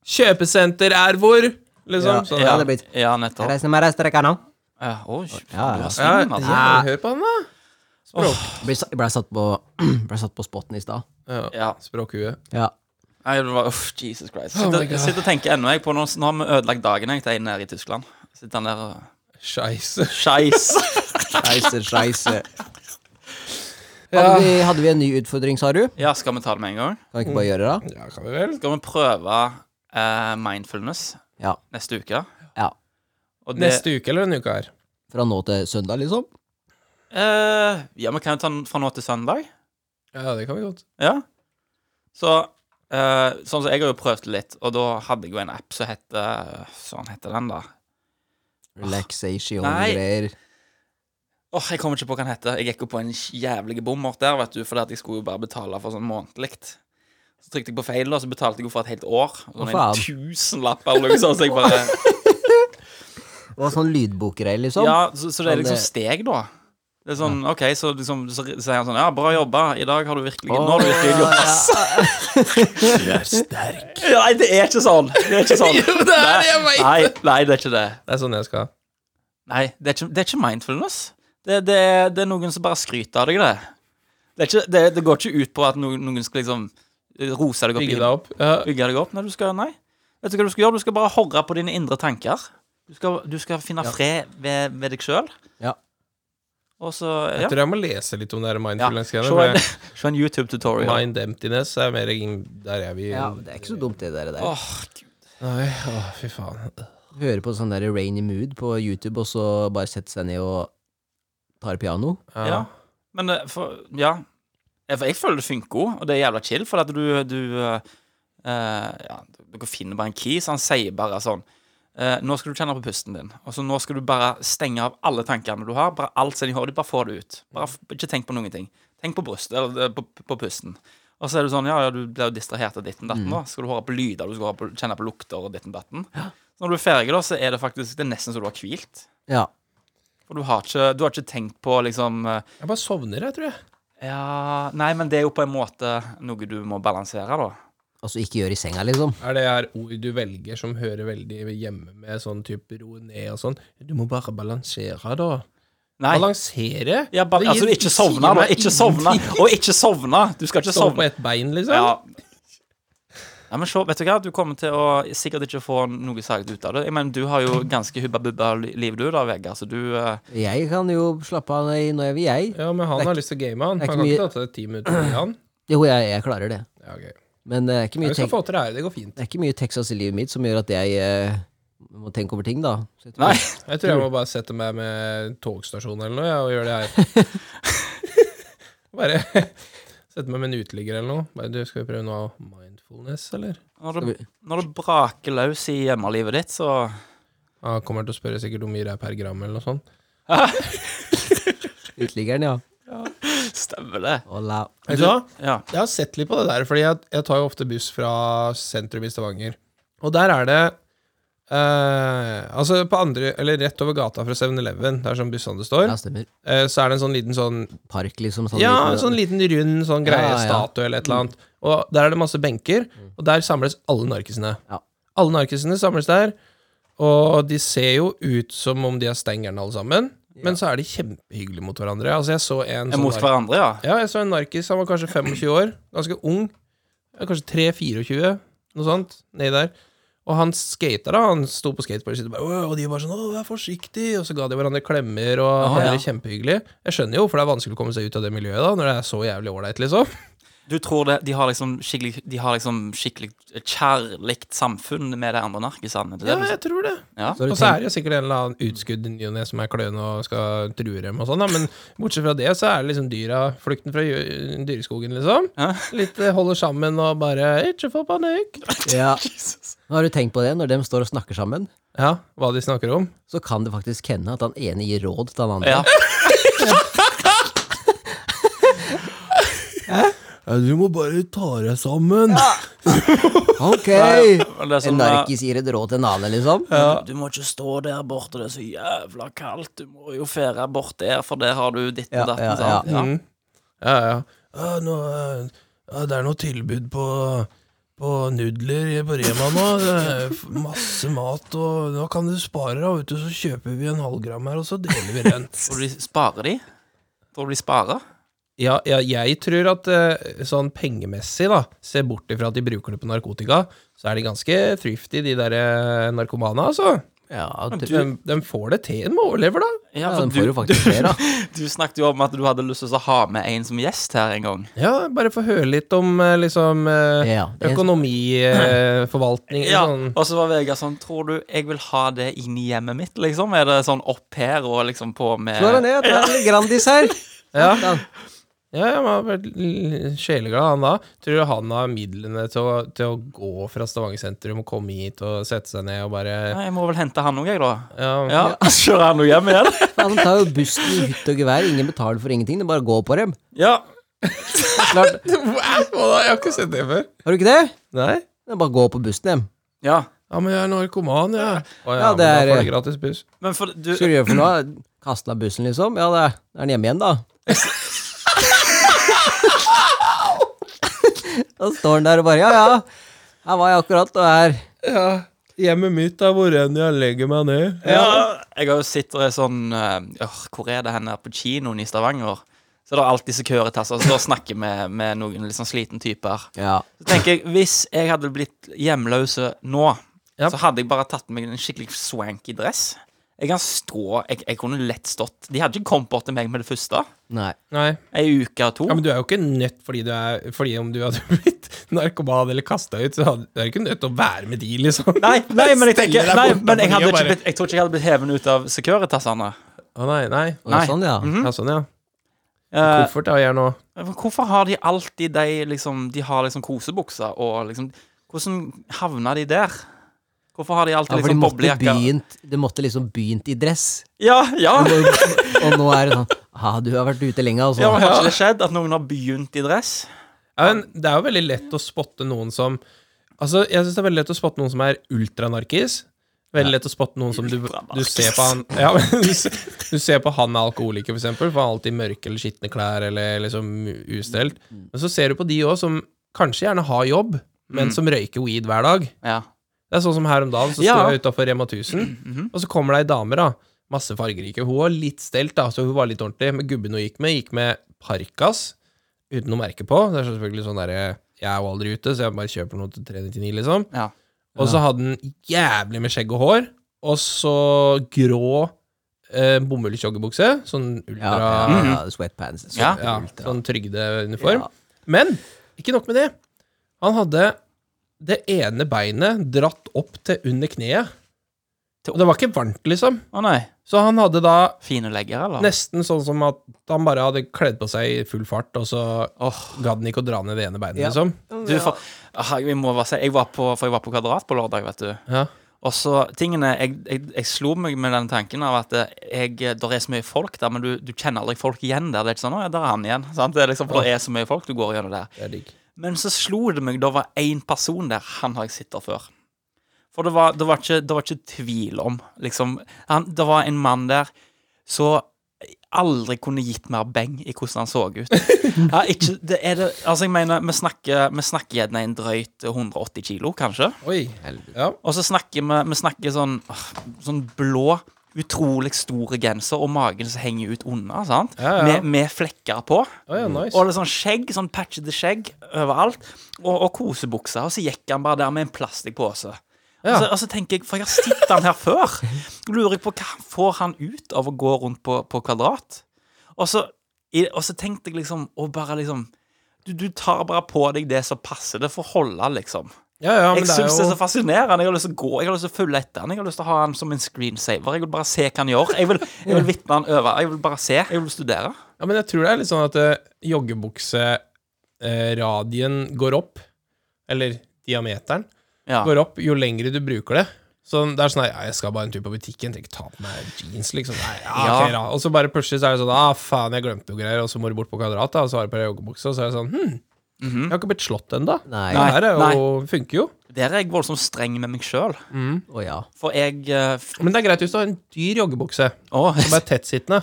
Kjøpesenter er hvor? Liksom.
Ja,
sånn
ja,
der.
det blitt
Ja, nettopp.
Reisende med reistrekano.
Ja, oi, du
Ja, ja.
har
Ja,
svingen, altså.
ja, hør på den, da. Språk.
Ble, sa- ble, satt på, ble satt på spotten i stad.
Ja,
Ja.
Språkhue.
Ja.
Nei, det var, uff, Jesus Christ.
Oh my
Sitter,
God.
jeg sitter og tenker ennå jeg på noe, Nå har vi ødelagt dagen jeg, til en nede i Tyskland. Sitter han der og
Scheisse.
Skeis.
Scheisse, scheisse.
Ja.
Hadde, vi, hadde vi en ny utfordring, sa du?
ja, skal vi ta det med en gang?
Kan vi ikke bare gjøre det? da?
Ja, kan vi vel?
Skal vi prøve eh, mindfulness
Ja.
neste uke?
Ja.
Og det,
Neste uke eller denne uka her?
Fra nå til søndag, liksom?
eh, ja, vi kan jo ta den fra nå til søndag.
Ja, det kan vi godt.
Ja. Så eh, Sånn som jeg har jo prøvd litt, og da hadde jeg jo en app som heter Sånn heter den, da.
Relaxation
Nei.
og greier.
Åh, Jeg kommer ikke på hva den heter. Jeg gikk jo på en jævlig bommert der, vet du, fordi at jeg skulle jo bare betale for sånn månedlig. Så trykte jeg på feil, og så betalte jeg jo for et helt år. Sånn
faen?
en tusenlapp eller noe sånt. Så jeg bare
Det var sånn lydbokgreier, liksom?
Ja, så, så det er
Men
liksom
det-
steg, da. Det er sånn, OK, så liksom Så sier han sånn Ja, bra jobba. I dag har du virkelig Nå har du virkelig gjort masse. Ja, Nei, det er ikke sånn. Det er ikke sånn.
Jo, det er det, jeg
Nei,
vet
nei, nei, det er ikke det.
Det er sånn jeg skal.
Nei, det er ikke, det er ikke mindfulness. Det, det, det er noen som bare skryter av deg, det. Det, er ikke, det, det går ikke ut på at noen, noen skal liksom rose deg opp. i-
Bygge deg opp. Ja.
Bygge deg opp. Nei, du skal, nei. Vet du hva du skal gjøre? Du skal bare horre på dine indre tanker. Du skal, du skal finne fred ved, ved deg sjøl.
Ja.
Og så
Jeg
Ja.
tror jeg må lese litt om det her
ja. Se en,
mindfulness-greiene.
se en
for
YouTube-tutorial.
Mind emptiness er mer ingen- Der er vi.
Ja, men det er ikke så dumt, det der. der.
Åh, Gud.
Nei, å, fy faen.
Høre på sånn der Rainy Mood på YouTube, og så bare sette seg ned og tar piano.
Ja.
Ja. Men eh, for, ja. Eh, for jeg føler det funker òg, og det er jævla chill, for at du, du eh, eh, ja, Dere finner bare en key, så han sier bare sånn eh, Nå skal du kjenne på pusten din. Og så nå skal du bare stenge av alle tankene du har. Bare alt som er i hodet, bare få det ut. Bare f- Ikke tenk på noen ting. Tenk på brystet, eller eh, på, på pusten. Og så er det sånn, ja, ja, du blir jo distrahert av ditten datten, da. Skal du høre på lyder, du skal høre på, kjenne på lukter og ditten datten. Så når du er ferdig, da, så er det faktisk Det er nesten så du har hvilt.
Ja.
For du har ikke, du har ikke tenkt på liksom eh,
Jeg bare sovner, jeg, tror jeg.
ja Nei, men det er jo på en måte noe du må balansere, da.
Altså ikke gjøre i senga, liksom.
Er det her ord du velger som hører veldig hjemme med sånn type ro ned og sånn? Du må bare balansere, da.
Nei.
Balansere?
Ja, ba
Det
altså,
gir-
ikke
sier
sovne, da.
meg
Ikke sovne.
ingenting.
Og ikke sovne! Du skal ikke
Sove på
sovne.
ett bein, liksom?
Ja. Nei, men se, vet du hva? Du kommer til å sikkert ikke få noe sagt ut av det. Jeg mener, du har jo ganske hubba-bubba-liv, du da, Vegard, så du eh,
Jeg kan jo slappe av når jeg- når jeg vil, jeg.
Ja, men han har lyst til å game, han.
det er
Han
ikke
kan ikke
mye-
ta til ti minutter med han.
Jo, jeg, jeg klarer det.
Ja, ok.
Men det er ikke
Ja,
mye,
Vi skal
tek
få til det her. Det går fint.
det er ikke mye Texas i livet mitt som gjør at jeg eh, må tenke over ting, da. Så jeg tror-
Nei.
Jeg tror jeg må bare sette meg med togstasjon eller noe, jeg, og gjøre det her. bare sette meg med en uteligger eller noe. Bare, du, skal vi prøve noe mindfulness, eller?
Når du, når du braker løs i hjemmelivet ditt, så
Han kommer til å spørre sikkert hvor mye det er per gram, eller noe sånt.
Uteliggeren, ja.
stemmer det.
Hola.
Vet du hva?
Ja.
Jeg har sett litt på det der, fordi jeg, jeg tar jo ofte buss fra sentrum i Stavanger. Og der er det eh, Altså, på andre Eller rett over gata fra 7-Eleven, der som sånn bussene står,
Ja, stemmer.
eh, så er det en sånn liten sånn
Park, liksom. Sånn
ja,
liten-
en sånn liten rund sånn greie,
Ja, ja.
statue eller et eller annet. Og der er det masse benker, og der samles alle narkisene.
Ja.
Alle narkisene samles der, og de ser jo ut som om de er stengerne alle sammen, men så er de kjempehyggelige mot hverandre. Altså, jeg så en sånn
Mot
nark-
hverandre, ja.
ja, jeg så en narkis, han var kanskje 25 år, ganske ung, Ja, kanskje 3-24, noe sånt, nedi der. Og han skater da, han sto på skateboardet sitt og bare, «Åh», og de var sånn, åh, vær forsiktig, og så ga de hverandre klemmer, og
Aha,
det
ja.
er kjempehyggelig. Jeg skjønner jo, for det er vanskelig å komme seg ut av det miljøet da, når det er så jævlig ålreit, liksom.
Du tror det, de har liksom skikkelig, de har liksom skikkelig kjærlikt samfunn med de andre narkisene? Det
Ja,
er det
jeg tror det.
du- ja.
Og så er det jo sikkert en eller annen utskudd i ny og ne som er kløne og skal true dem og sånn, da. Men bortsett fra det, så er det liksom dyra, flukten fra jø- dyreskogen, liksom.
Ja.
Litt eh, holder sammen og bare Ikke få panikk.
Ja. Har du tenkt på det? Når de står og snakker sammen,
Ja, hva de snakker om.
så kan det faktisk hende at han ene gir råd til han andre.
Ja.
du må bare ta deg sammen.
Ok!
Og det er
En
sånn,
narkis gir et råd til en annen, liksom?
eh, Du må ikke stå der borte, det er så jævla kaldt. Du må jo fære bort der, for der har du ditt
Ja,
og datt.
ja,
sant?
ja.
Mm. Ja, ja. Ja, nå, eh, ja, det er noe tilbud på, på nudler i- på Rema nå. Det er f- masse mat, og nå kan du spare, da, vet du. Så kjøper vi en halvgram her, og så deler vi den.
Tror du de sparer de? Tror du de sparer?
Ja, ja, jeg tror at eh, sånn pengemessig, da, se bort ifra at de bruker det på narkotika, så er de ganske thrifty, de der eh, narkomane, altså.
Ja,
De, de får det til, de overlever, da.
Ja,
ja
for
den
du,
får jo faktisk mer, da.
du snakket jo om at du hadde lyst til å ha med en som gjest her en gang.
Ja, bare få høre litt om eh, liksom eh,
Ja, det er-
økonomiforvaltning
Ja,
sånn.
Og så var Vegard sånn Tror du jeg vil ha det inn i hjemmet mitt, liksom? Er det sånn opp her og liksom på med
Slår han ned, det er en Grandis her.
Ja, ja han har vært l- sjeleglad, han da. Tror du han har midlene til å, til å gå fra Stavanger sentrum og komme hit og sette seg ned og bare
Ja, Jeg må vel hente han òg, jeg, da.
Ja,
Ja, Kjører han noe hjem igjen?
Han tar jo bussen i hytt og gevær, ingen betaler for ingenting, det er bare å gå på dem.
Ja.
Klart.
Jeg har ikke sett det før.
Har du ikke det?
Nei?
Det er bare å gå på bussen dem.
ja.
Ja, men jeg er narkoman, jeg. Å,
Ja,
men
det
da
er-
får jeg gratis buss.
Men for du
Skal du gjøre for noe? Kaste av bussen, liksom? Ja, det er er den hjemme igjen, da. da står han der og bare Ja, ja. Her var jeg akkurat, og her
Ja. Hjemmet mitt er hvor enn jeg legger meg ned.
Ja, jeg har jo sett det er sånn eh, «Åh, Hvor er det henne på kinoen i Stavanger? Så det er alltid Securitas som står og snakker med, med noen litt sånn sliten typer.
Ja.
Så tenker jeg, Hvis jeg hadde blitt hjemløse nå,
Ja.
så hadde jeg bare tatt meg en skikkelig swanky dress. Jeg kan stå, jeg, jeg kunne lett stått De hadde ikke kommet bort til meg med det første.
Nei.
Nei.
Ei uke og to.
Ja, Men du er jo ikke nødt fordi du er Fordi om du hadde blitt narkoman eller kasta ut, så hadde, du er ikke nødt til å være med de, liksom.
Nei, nei, men, jeg, tenker,
Stelle deg
nei,
borte fordi
men jeg, hadde
jeg
ikke
bare-
blitt, jeg tror ikke jeg hadde blitt heven ut av Securitas. Anne.
Å, nei, nei.
Og
Nei.
sånn, ja.
Ja, sånn, ja.
Eh,
Koffert har jeg nå.
hvorfor har de alltid de liksom De har liksom kosebukser og liksom Hvordan havna de der? Hvorfor har de alltid
Ja, for de
liksom
måtte,
boblejakker?
begynt, de måtte liksom begynt i dress.
Ja, ja! ja,
Og nå er det sånn Ha, du har vært ute lenge, altså.
men Har ikke det skjedd at noen har begynt i dress?
Ja, men det er jo veldig lett å spotte noen som Altså, jeg syns det er veldig lett å spotte noen som er ultranarkis. Veldig lett å spotte noen som du, du ser på han ja, men du, ser- du ser på han er alkoholiker, for eksempel, for han har alltid mørke eller skitne klær eller liksom ustelt. Men så ser du på de òg som kanskje gjerne har jobb, men som røyker weed hver dag.
Ja.
Det er sånn som her om dagen, så
Ja. Mhm.
står jeg utafor Rema 1000, og så kommer det ei dame, da. Masse fargerike. Hun var litt stelt, da, så hun var litt ordentlig. Men gubben hun gikk med, gikk med parkas uten noe merke på. Det er selvfølgelig sånn derre Jeg er jo aldri ute, så jeg bare kjøper noe til 399, liksom.
Ja.
Og så hadde han jævlig med skjegg og hår, og så grå eh, bomullsjoggebukse. Sånn
Ja,
ultra
ja, ja, sweatpants. Så,
Ja.
ja,
ultra.
sånn trygdeuniform.
Ja.
Men ikke nok med det. Han hadde det ene beinet dratt opp til under kneet.
Til
Og det var ikke varmt, liksom.
Å nei.
Så han hadde da
Fine legger, eller?
nesten sånn som at han bare hadde kledd på seg i full fart, og så gadd han ikke å dra ned det ene beinet,
Ja.
liksom.
Du, for, ah, jeg må bare si Jeg var på, for jeg var på Kvadrat på lørdag, vet du.
Ja.
Og så tingene jeg, jeg, jeg slo meg med den tanken av at eh, jeg, der er så mye folk der, men du, du kjenner aldri folk igjen der. Det er ikke sånn 'Å ja, der er han igjen'. Sant? Det er liksom, for det er så mye folk du går gjennom der.
Det er digg.
Men så slo det meg, det var én person der. Han har jeg sett der før. For det var, det var, ikke, det var ikke tvil om, liksom han, Det var en mann der så aldri kunne gitt mer beng i hvordan han så ut. Ja, ikke, det er det, altså jeg mener, vi snakker, vi snakker gjerne en drøyt 180 kilo, kanskje.
Oi. Ja.
Og så snakker vi, vi snakker sånn, åh, sånn blå, utrolig store genser, og magen som henger ut unna, sant?
Ja, ja.
Med, med flekker på.
Å ja, nice.
Og litt sånn skjegg, sånn patchete skjegg overalt. Og, og kosebukser. Og så gikk han bare der med en plastikkpose. Og, så, og så tenker jeg, for jeg har sett han her før. Lurer jeg på hva får han ut av å gå rundt på, på kvadrat? Og så, i, og så tenkte jeg liksom å bare liksom du, du tar bare på deg det som passer det, for å holde, liksom.
Ja, ja, men
jeg
det er
syns det er så
jo
fascinerende. Jeg har lyst til å gå, jeg har lyst til å følge etter han. Jeg har lyst til å ha han som en screensaver. Jeg vil bare se hva han gjør. Jeg vil, jeg vil vitne han over. Jeg vil bare se. Jeg vil studere.
Ja, men jeg tror det er litt sånn at joggebukseradien går opp, eller diameteren,
Ja.
går opp jo lengre du bruker det. Så det er sånn her, ja, jeg skal bare en tur på butikken, trenger ikke ta på meg jeans, liksom. Nei, ja,
Ja.
ok, da. Og så bare plutselig så er det sånn, ah, faen, jeg glemte noe greier, og så må du bort på kvadrat, da, og så har du på deg joggebukse, og så er det sånn, hm, jeg har ikke blitt slått ennå.
Nei.
Det her er jo, funker jo.
Der er jeg voldsomt streng med meg sjøl.
Å ja.
For jeg eh, f-
Men det er greit hvis du har en dyr joggebukse,
Å,
som er tettsittende.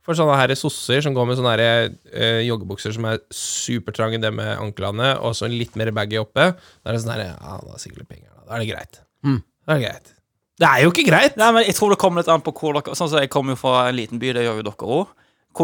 For sånne her sosser som går med sånne her, eh, joggebukser som er supertrange ned med anklene, og så litt mer baggy oppe, da er det sånn her Ja, da er det sikkert litt penger, da. Da er det greit. Da er det greit. Det er jo ikke greit!
Nei, men jeg tror det kommer litt an på hvor dere Sånn som jeg kommer jo fra en liten by, det gjør jo dere òg.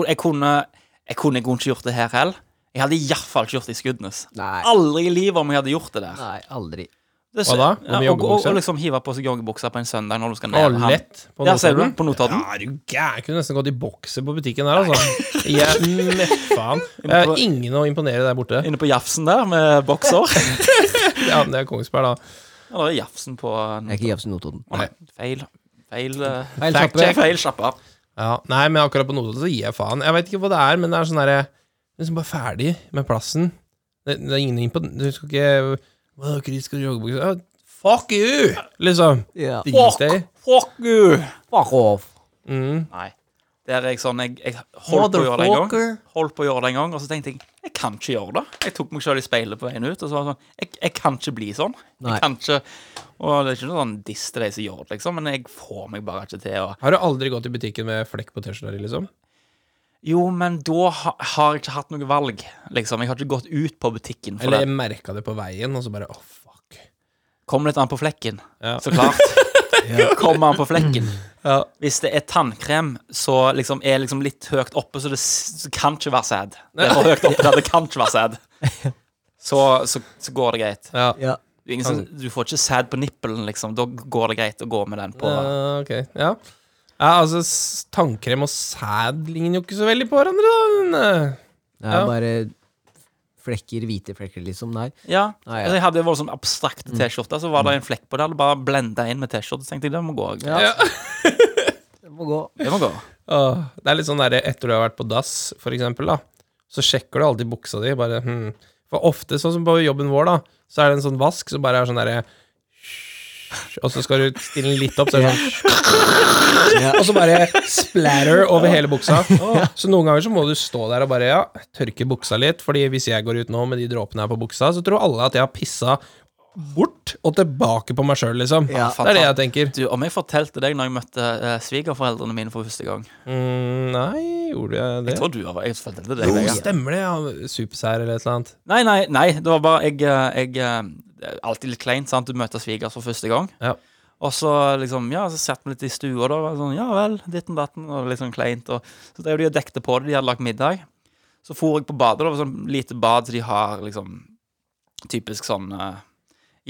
Jeg kunne Jeg kunne ikke gjort det her heller. Jeg hadde iallfall ikke gjort det i Skudenes.
Nei.
Aldri i livet om jeg hadde gjort det der.
Nei, aldri.
Det,
Hva da? Hvor mye
Ja, og, og,
joggebukser?
og liksom hive på seg joggebuksa på en søndag når du skal ned.
Og lett på
Der ser du,
Notodden.
på Notodden.
Ja, er du gæren? Jeg Kunne nesten gått i bokser på butikken der, altså. Jeg, men faen. Jeg har ingen å imponere der borte.
Inne på Jafsen der, med bokser.
Ja, men det er Kongsberg, da.
Eller er det Jafsen på
Jeg er ikke Jefferson Notodden.
Å, nei, Feil. Feil eh,
Feil
Fact
sjappe.
check.
Feil sjappa.
Ja, nei, men akkurat på Notodden så gir jeg faen. Jeg veit ikke hva det er, men det er sånn derre Liksom bare ferdig med plassen. Det, det er ingen innpå Du skal ikke Hva er det, skal du joggebukse? Ja, Fuck you! Liksom.
Ja.
Drit i.
Fuck you!
Fuck off.
Mm.
Nei. Der er jeg sånn Jeg, jeg holdt på å gjøre det en gang. Holdt på å gjøre det en gang Og så tenkte jeg jeg kan ikke gjøre det. Jeg tok meg sjøl i speilet på veien ut. Og så var det sånn Jeg, jeg kan ikke bli sånn.
Nei.
Jeg kan ikke Og det er ikke noe sånn diss til de som gjør det, liksom, men jeg får meg bare ikke til å
Har du aldri gått i butikken med flekk på T-skjorta di, liksom?
Jo, men da ha, har jeg ikke hatt noe valg, liksom. Jeg har ikke gått ut på butikken for
Eller
det.
merka det på veien, og så bare åh, fuck.
Kom litt an på flekken.
Ja.
Så klart. Kommer han på flekken. Hvis det er tannkrem, så liksom er liksom litt høyt oppe, så det s- så kan ikke være sæd. Det er for høyt oppe der det kan ikke være sæd. Så, så, så går det greit.
Ja. Altså-
Ja.
Du, er ingen som- du får ikke sæd på nippelen, liksom. Da går det greit å gå med den på.
Ja, ok, ja. ja altså, s- tannkrem og sæd ligner jo ikke så veldig på hverandre, da. Men, eh,
Det er
Ja.
bare flekker, hvite flekker, liksom. Nei.
Ja.
Nei, ja. Mm.
Altså, jeg hadde en voldsomt abstrakt T-skjorte, så var det en flekk på det. Det bare blenda inn med T-skjorte. Så tenkte jeg det må gå.
Ja. Det må gå.
Det må gå.
åh, det er litt sånn derre etter du har vært på dass, for eksempel, da, så sjekker du alltid buksa di, bare hm. For ofte, sånn som på jobben vår, da, så er det en sånn vask som bare er sånn derre og så skal du stille den litt opp, så er det sånn Og så bare splatter over hele buksa. Så noen ganger så må du stå der og bare ja, tørke buksa litt, Fordi hvis jeg går ut nå med de dråpene her på buksa, så tror alle at jeg har pissa bort og tilbake på meg sjøl, liksom.
Ja,
det er det jeg tenker.
Du, om jeg fortalte deg når jeg møtte eh, svigerforeldrene mine for første gang
Mm, nei, gjorde jeg det?
Jeg tror du har jeg fortalte deg
Jo,
det. jeg.
stemmer det. Ja. Supersær eller et eller annet.
Nei, nei, nei, det var bare jeg, eh, jeg eh, det er Alltid litt kleint, sant? Du møter svigers for første gang.
Ja.
Og så liksom, ja, så satt vi litt i stua, da. og Sånn, ja vel, ditten datten, og litt sånn kleint. Og så drev de og dekte på det, de hadde lagt middag. Så for jeg på badet, da, det var sånn lite bad så de har, liksom Typisk sånn eh,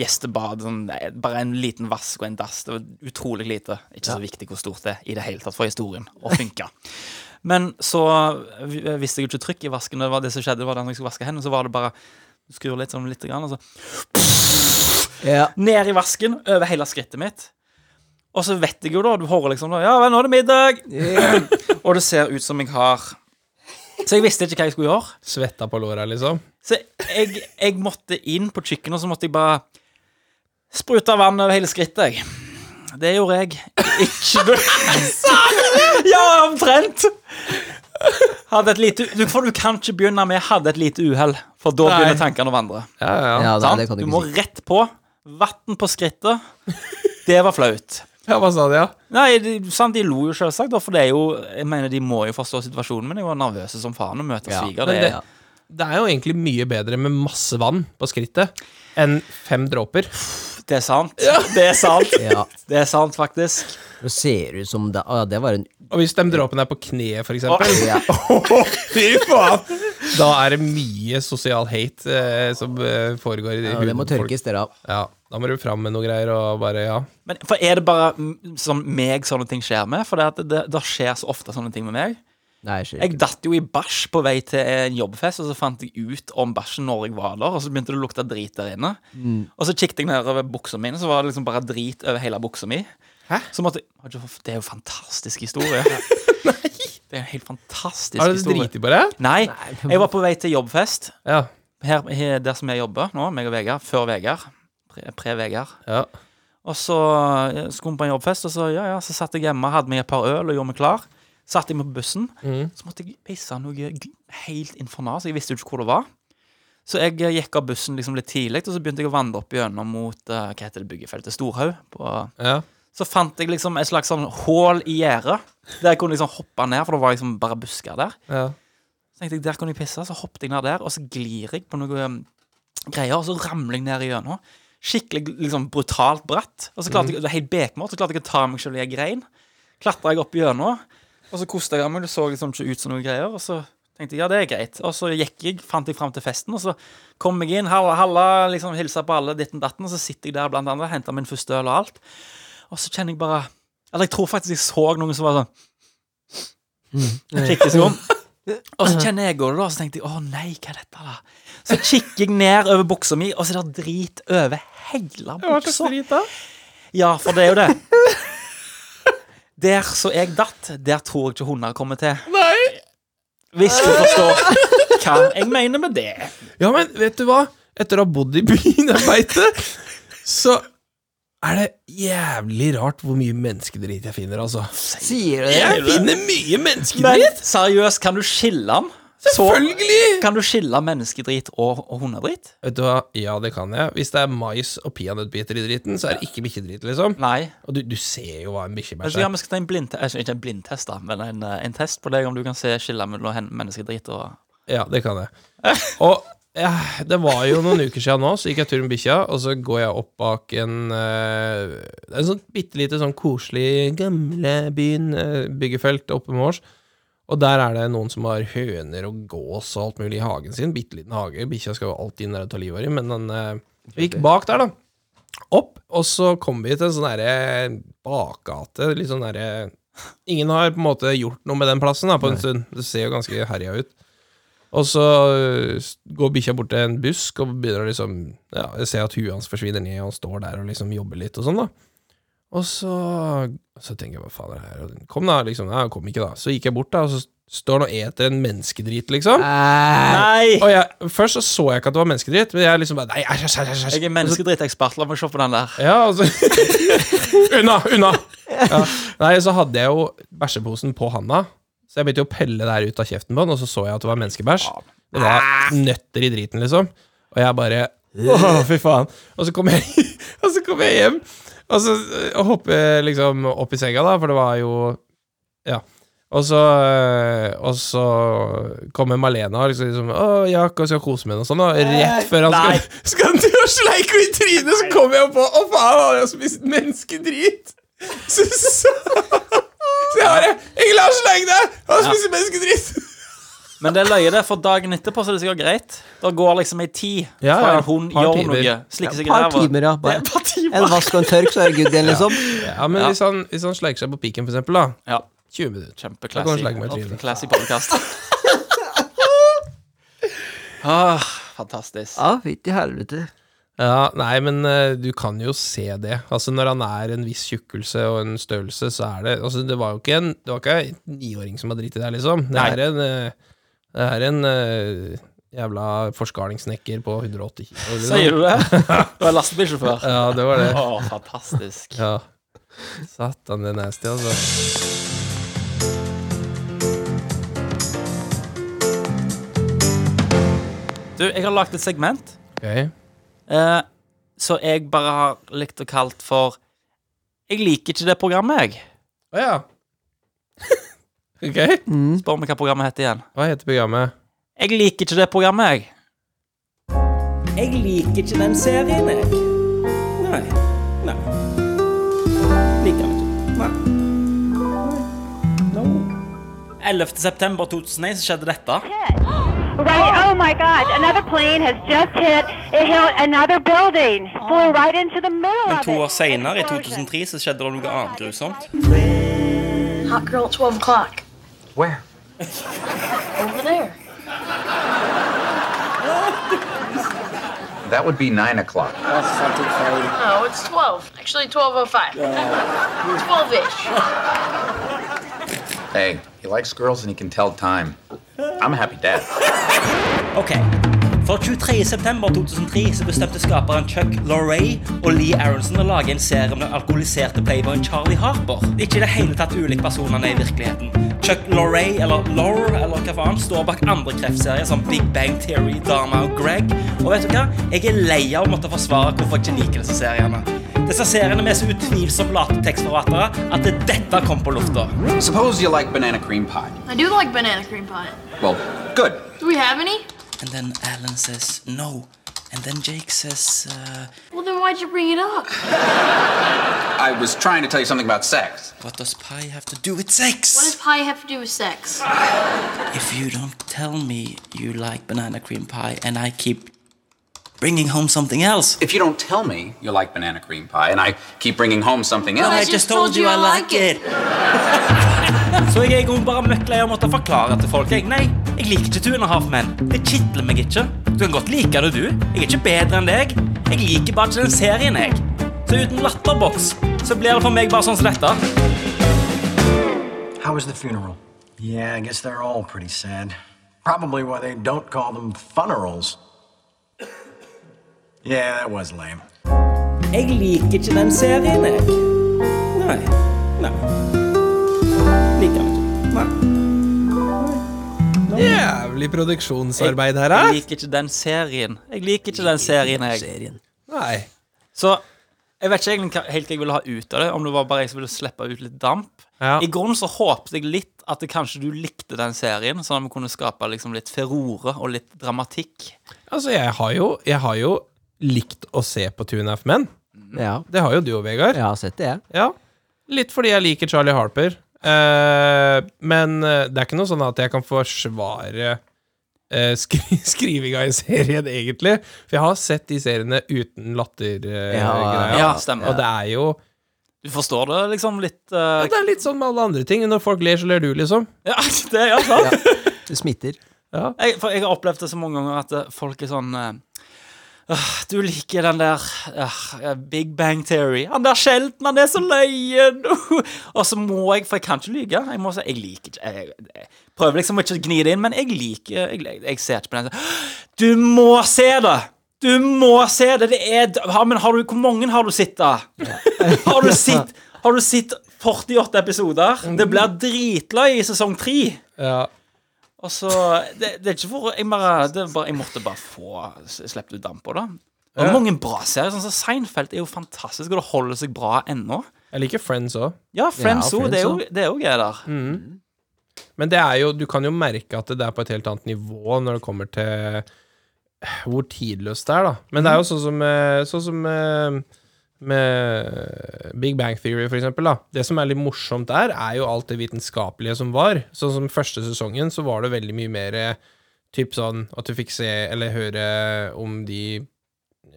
gjestebad. Sånn, nei, bare en liten vask og en dass. Det var utrolig lite. Ikke så viktig hvor stort det er i det hele tatt for historien. Og funka. Men så v- visste jeg jo ikke trykk i vasken. Det var det som skjedde, det var den jeg skulle vaske hendene, så var det bare du skrur litt sånn lite grann, og så
Ja.
ned i vasken over hele skrittet mitt. Og så vet jeg jo, da, du hører liksom da, Ja, vel, nå er det middag! og det ser ut som jeg har Så jeg visste ikke hva jeg skulle gjøre.
Svetta på låra, liksom.
Så jeg, jeg måtte inn på kjøkkenet, og så måtte jeg bare sprute vann over hele skrittet, jeg. Det gjorde jeg. Ikke du- Ja, omtrent! Hadde et lite du, For du kan ikke begynne med 'hadde et lite uhell', for da
Nei.
begynner tankene å vandre.
Ja, ja. ja.
ja nei,
sant?
det kan
du
du
må
ikke si.
rett på. Vann på skrittet. Det var flaut.
ja hva sa de, ja?
Nei, de, sant, de lo jo selvsagt, da, for det er jo Jeg mener, de må jo forstå situasjonen, men jeg var nervøs som faen å møte
Ja,
sviger.
men
Det,
det-
er-
Det er jo egentlig mye bedre med masse vann på skrittet enn fem dråper.
det er sant. Det er sant.
Ja.
Det er sant, faktisk.
Det ser ut som det Å ja, det var en
Og hvis de dråpene er på kneet, for eksempel,
ja.
fy faen, da er det mye sosial hate eh, som eh, foregår i
ja,
huden
Det må
på folk.
tørkes, dere av.
Ja, da må du fram med noe greier og bare, ja.
Men for er det bare mm, sånn meg sånne ting skjer med? For det, at det, det skjer så ofte sånne ting med meg.
Nei, jeg ser
Jeg
ikke.
datt jo i bæsj på vei til en jobbfest, og så fant jeg ut om bæsjen når jeg var der, og så begynte det å lukte drit der inne.
Mm.
Og så kikket jeg nedover buksa mi, og så var det liksom bare drit over hele buksa mi. Hæ? Så måtte jeg Det er jo en fantastisk historie. Det er en helt fantastisk
Har du
historie.
driti på deg?
Nei, jeg var på vei til jobbfest
Ja.
her, her, der som jeg jobber nå, meg og Vegard, før Vegard, pre- pre-Vegard.
ja.
Og så eh, skulle vi på en jobbfest, og så, ja, ja, så satt jeg hjemme, hadde meg et par øl og gjorde meg klar. Satt jeg meg på bussen, så måtte jeg pisse noe g- helt infernal, så jeg visste jo ikke hvor det var. Så jeg eh, gikk av bussen liksom litt tidlig, og så begynte jeg å vandre opp gjennom mot eh, hva heter det, byggefeltet Storhaug. På,
ja.
så fant jeg liksom et slags sånn hull i gjerdet, der jeg kunne liksom hoppe ned, for det var liksom bare busker der.
ja.
Så tenkte jeg, der kan jeg pisse, så hoppet jeg ned der, og så glir jeg på noe um, greier, og så ramler jeg ned igjennom. Skikkelig liksom brutalt bratt. Og så klarte jeg, det er helt bekmørkt, så klarte jeg å ta meg selv i en grein. Klatra jeg opp igjennom, og så kosta jeg av meg, det så liksom ikke ut som noe greier. Og så tenkte jeg, ja, det er greit. Og så gikk jeg, fant jeg fram til festen, og så kom jeg inn, halla, halla, liksom hilsa på alle, ditten datten, og så sitter jeg der blant andre, henter min første øl og alt. Og så kjenner jeg bare Eller jeg tror faktisk jeg så noen som var sånn Kikket seg om. Og så kjenner jeg det, da, og så tenkte jeg å nei, hva er dette, da? Så kikker jeg ned over buksa mi, og så er det drit over hele
Hva slags
buksa.
drit da?
Ja, for det er jo det. Der så jeg datt, der tror jeg ikke hunder kommer til. Nei Hvis du forstår hva jeg mener med det.
Ja, men vet du hva? Etter å ha bodd i byen, jeg veit det, så er det jævlig rart hvor mye menneskedrit jeg finner, altså.
Sier du det?
Jeg finner mye
Men
menneskedrit!
seriøst, kan du skille dem?
Selvfølgelig!
Kan du skille menneskedrit og, og hundedrit?
Vet du hva? Ja, det kan jeg. Hvis det er mais og peanøttbiter i driten, så er det ikke bikkjedrit, liksom.
Nei.
Og du, du ser jo hva en bikkjebæsj
Altså, ja,
er.
vi skal ta en blindtest altså, Ikke en blindtest, da, men en, eh, en test på deg om du kan se skille mellom hen- menneskedrit og
Ja, det kan jeg. Og ja, det var jo noen uker siden nå, så gikk jeg tur med bikkja, og så går jeg opp bak en eh, Det er en sånn bitte lite sånn koselig gamlebyen, uh, byggefelt oppe med oss. Og der er det noen som har høner og gås og alt mulig i hagen sin. Bitte liten hage. Bikkja skal jo alltid inn der og ta livet av dem, men den eh, Vi gikk bak der, da. Opp, og så kom vi til en sånn derre bakgate, litt sånn derre Ingen har på en måte gjort noe med den plassen da, på en stund. Det ser jo ganske herja ut. Og så øh, s- går bikkja bort til en busk og begynner å liksom Ja, jeg ser at huet hans forsvinner ned, og han står der og liksom jobber litt og sånn, da. Og så, så tenker jeg hva faen er det her, og den kom da, liksom. Nei, han kom ikke, da. Så gikk jeg bort, da, og så står han og eter en menneskedrit, liksom.
Nei.
Nei!
Og jeg, først så så jeg ikke at det var menneskedrit, men jeg liksom bare Nei, æsj, æsj, æsj, æsj.
Jeg er menneskedritekspert. La meg se på den der.
Ja, altså Unna, unna! Ja. Nei, så hadde jeg jo bæsjeposen på handa, så jeg begynte jo å pelle det her ut av kjeften på den, og så så jeg at det var menneskebæsj. Det var nøtter i driten, liksom. Og jeg bare Å, fy faen. Og så kom jeg, og så kom jeg hjem, og så eh, hopper jeg liksom opp i senga, da, for det var jo Ja. Og så, eh, og så kommer Malena og liksom, liksom 'Å, Jakob skal kose med henne' og sånn, og rett før han
Nei.
skal, skal han til å sleike henne i trynet, så kommer jeg på 'Å, faen, han har jo spist menneskedrit'. Så, så, så jeg bare 'Egil Lars, sleik deg! Han spiser menneskedrit!'
Men det er løye, det, for dagen etterpå så er det sikkert greit. Da går liksom ei tid
Ja,
fra
ja,
en hund
par
gjør
timer.
noe, slikker seg i
Par
ræva.
timer, ja.
Det er
Bare.
et par timer.
En vask og en tørk, så er det good igjen, liksom.
Ja, men hvis han, hvis han sleiker seg på piken, for eksempel, da.
Ja,
20 minutter. Da kan du slenge meg i
kjempeklassig.
trynet.
Classy podcast. Ah, fantastisk.
Ja, fytti helvete.
Ja, nei, men eh, du kan jo se det. Altså, når han er en viss tjukkelse og en størrelse, så er det Altså, det var jo ikke en Det var ikke en niåring som har driti der, liksom. Det
Nei.
er en eh, Det er en eh, jævla forskalingssnekker på 180 kilo. eller
Sier du det? Du er lastebilsjåfør?
noe. Ja, det var det.
Å, fantastisk.
Ja. Satan, det er nasty, altså.
Du, jeg har lagd et segment
Ok.
eh, som jeg bare har likt og kalt for Jeg liker ikke det programmet, jeg.
Å ja. ok.
Spør meg hva programmet heter igjen.
Hva heter programmet?
Jeg liker ikke det programmet, jeg. Jeg liker ikke den serien, jeg. Nei. Nei. Liker den ikke. Nei. 11. september 2001 så skjedde dette.
Right, oh my God, another plane has just hit, it hit another building, flew right into the middle
Men to år senere, i 2003, så skjedde det noe annet grusomt.
Hot girl at 12 o'clock. Where? Over there.
That would be nine o'clock.
No, it's 12. Actually, 12.05. 12 ish.
Hey, he likes girls and he can tell time. I'm a happy dad.
Ok. For 23.9.2003 så bestemte skaperen Chuck Lorre og Lee Aronson å lage en serie om den alkoholiserte playboyen Charlie Harper. Det er ikke i det hele tatt ulike personer han er i virkeligheten. Chuck Lorre, eller Lore, eller hva faen, står bak andre kreftserier som Big Bang Theory, Dharma og Greg. Og vet du hva? Jeg er lei av å måtte forsvare hvorfor jeg ikke liker disse seriene. Disse seriene vi er så utvilsomt late tekstforfattere at dette kom på lufta.
Suppose you like banana cream pie.
I do like banana cream pie.
Well, good.
Do we have any?
And then Alan says no. And then Jake says, uh,
Well, then why'd you bring it up?
I was trying to tell you something about sex.
What does pie have to do with sex?
What does pie have to do with sex?
If you don't tell me you like banana cream pie and I keep bringing home something else.
If you don't tell me you like banana cream pie and I keep bringing home something
Well,
else.
I just told you I like it. Så jeg er i grunnen bare møkklei og måtte forklare til folk jeg, Nei, jeg liker ikke Two and a Half Men. Det kitler meg ikke. Du kan godt like det, du. Jeg er ikke bedre enn deg. Jeg liker bare ikke den serien, jeg. Så uten latterboks så blir det for meg bare sånn som dette.
How was the funeral? Yeah, I guess they're all pretty sad. Probably why they don't call them funerals. Yeah, that was lame.
Jeg liker ikke den serien, jeg. Nei. Nei. Liker den ikke. Nei.
Jævlig produksjonsarbeid her,
Jeg
hæ?
liker ikke den serien. Jeg liker ikke den serien, jeg.
Nei.
Så jeg vet ikke egentlig hva- helt hva jeg ville ha ut av det, om det var bare jeg som ville slippe ut litt damp. I grunnen så håpet jeg litt at det, kanskje du likte den serien, sånn at vi kunne skape liksom litt ferore og litt dramatikk.
Altså, jeg har jo, jeg har jo likt å se på Two and a Half Men. Det har jo du og Vegard.
Jeg har sett det, jeg.
Ja. Litt fordi jeg liker Charlie Harper. Eh, men eh, det er ikke noe sånn at jeg kan forsvare eh, skri skrivinga i serien, egentlig. For jeg har sett de seriene uten lattergreia.
Ja, ja, stemmer.
Og det er jo
Du forstår det liksom litt
ja,
eh,
Det er litt sånn med alle andre ting. Når folk ler, så ler du, liksom.
Ja, det er altså. sant.
Det smitter.
Jeg, for jeg har opplevd det så mange ganger at eh, folk er sånn eh, «Åh, Du liker den der eh, Big Bang Theory. Han der Shelton, han er så løyen! og så må jeg, for jeg kan ikke lyge. Jeg må si jeg liker ikke jeg, jeg Prøver liksom å ikke gni det inn, men jeg liker Jeg, jeg, jeg ser ikke på den. Du må se det! Du må se det! Det er ja, Men har du, hvor mange har du sett, da? Har du sett Har du sett 48 episoder? Det blir dritløy i sesong 3.
Ja.
Og så det, det er ikke for Jeg, bare, det er bare, jeg måtte bare få Slippe ut damp på det. Og
Ja.
mange bra serier. Sånn som Seinfeld er jo fantastisk, og det holder seg bra ennå.
Jeg liker Friends òg.
Ja, Friends òg. det er jo- det er jo greier der.
Mm. Men det er jo, du kan jo merke at det er på et helt annet nivå når det kommer til eh, hvor tidløst det er, da. Men det er jo sånn som, eh, sånn som eh, med Big Bang Theory, for eksempel. Da. Det som er litt morsomt der, er jo alt det vitenskapelige som var. Sånn som første sesongen, så var det veldig mye mer eh, typ sånn at du fikk se eller høre om de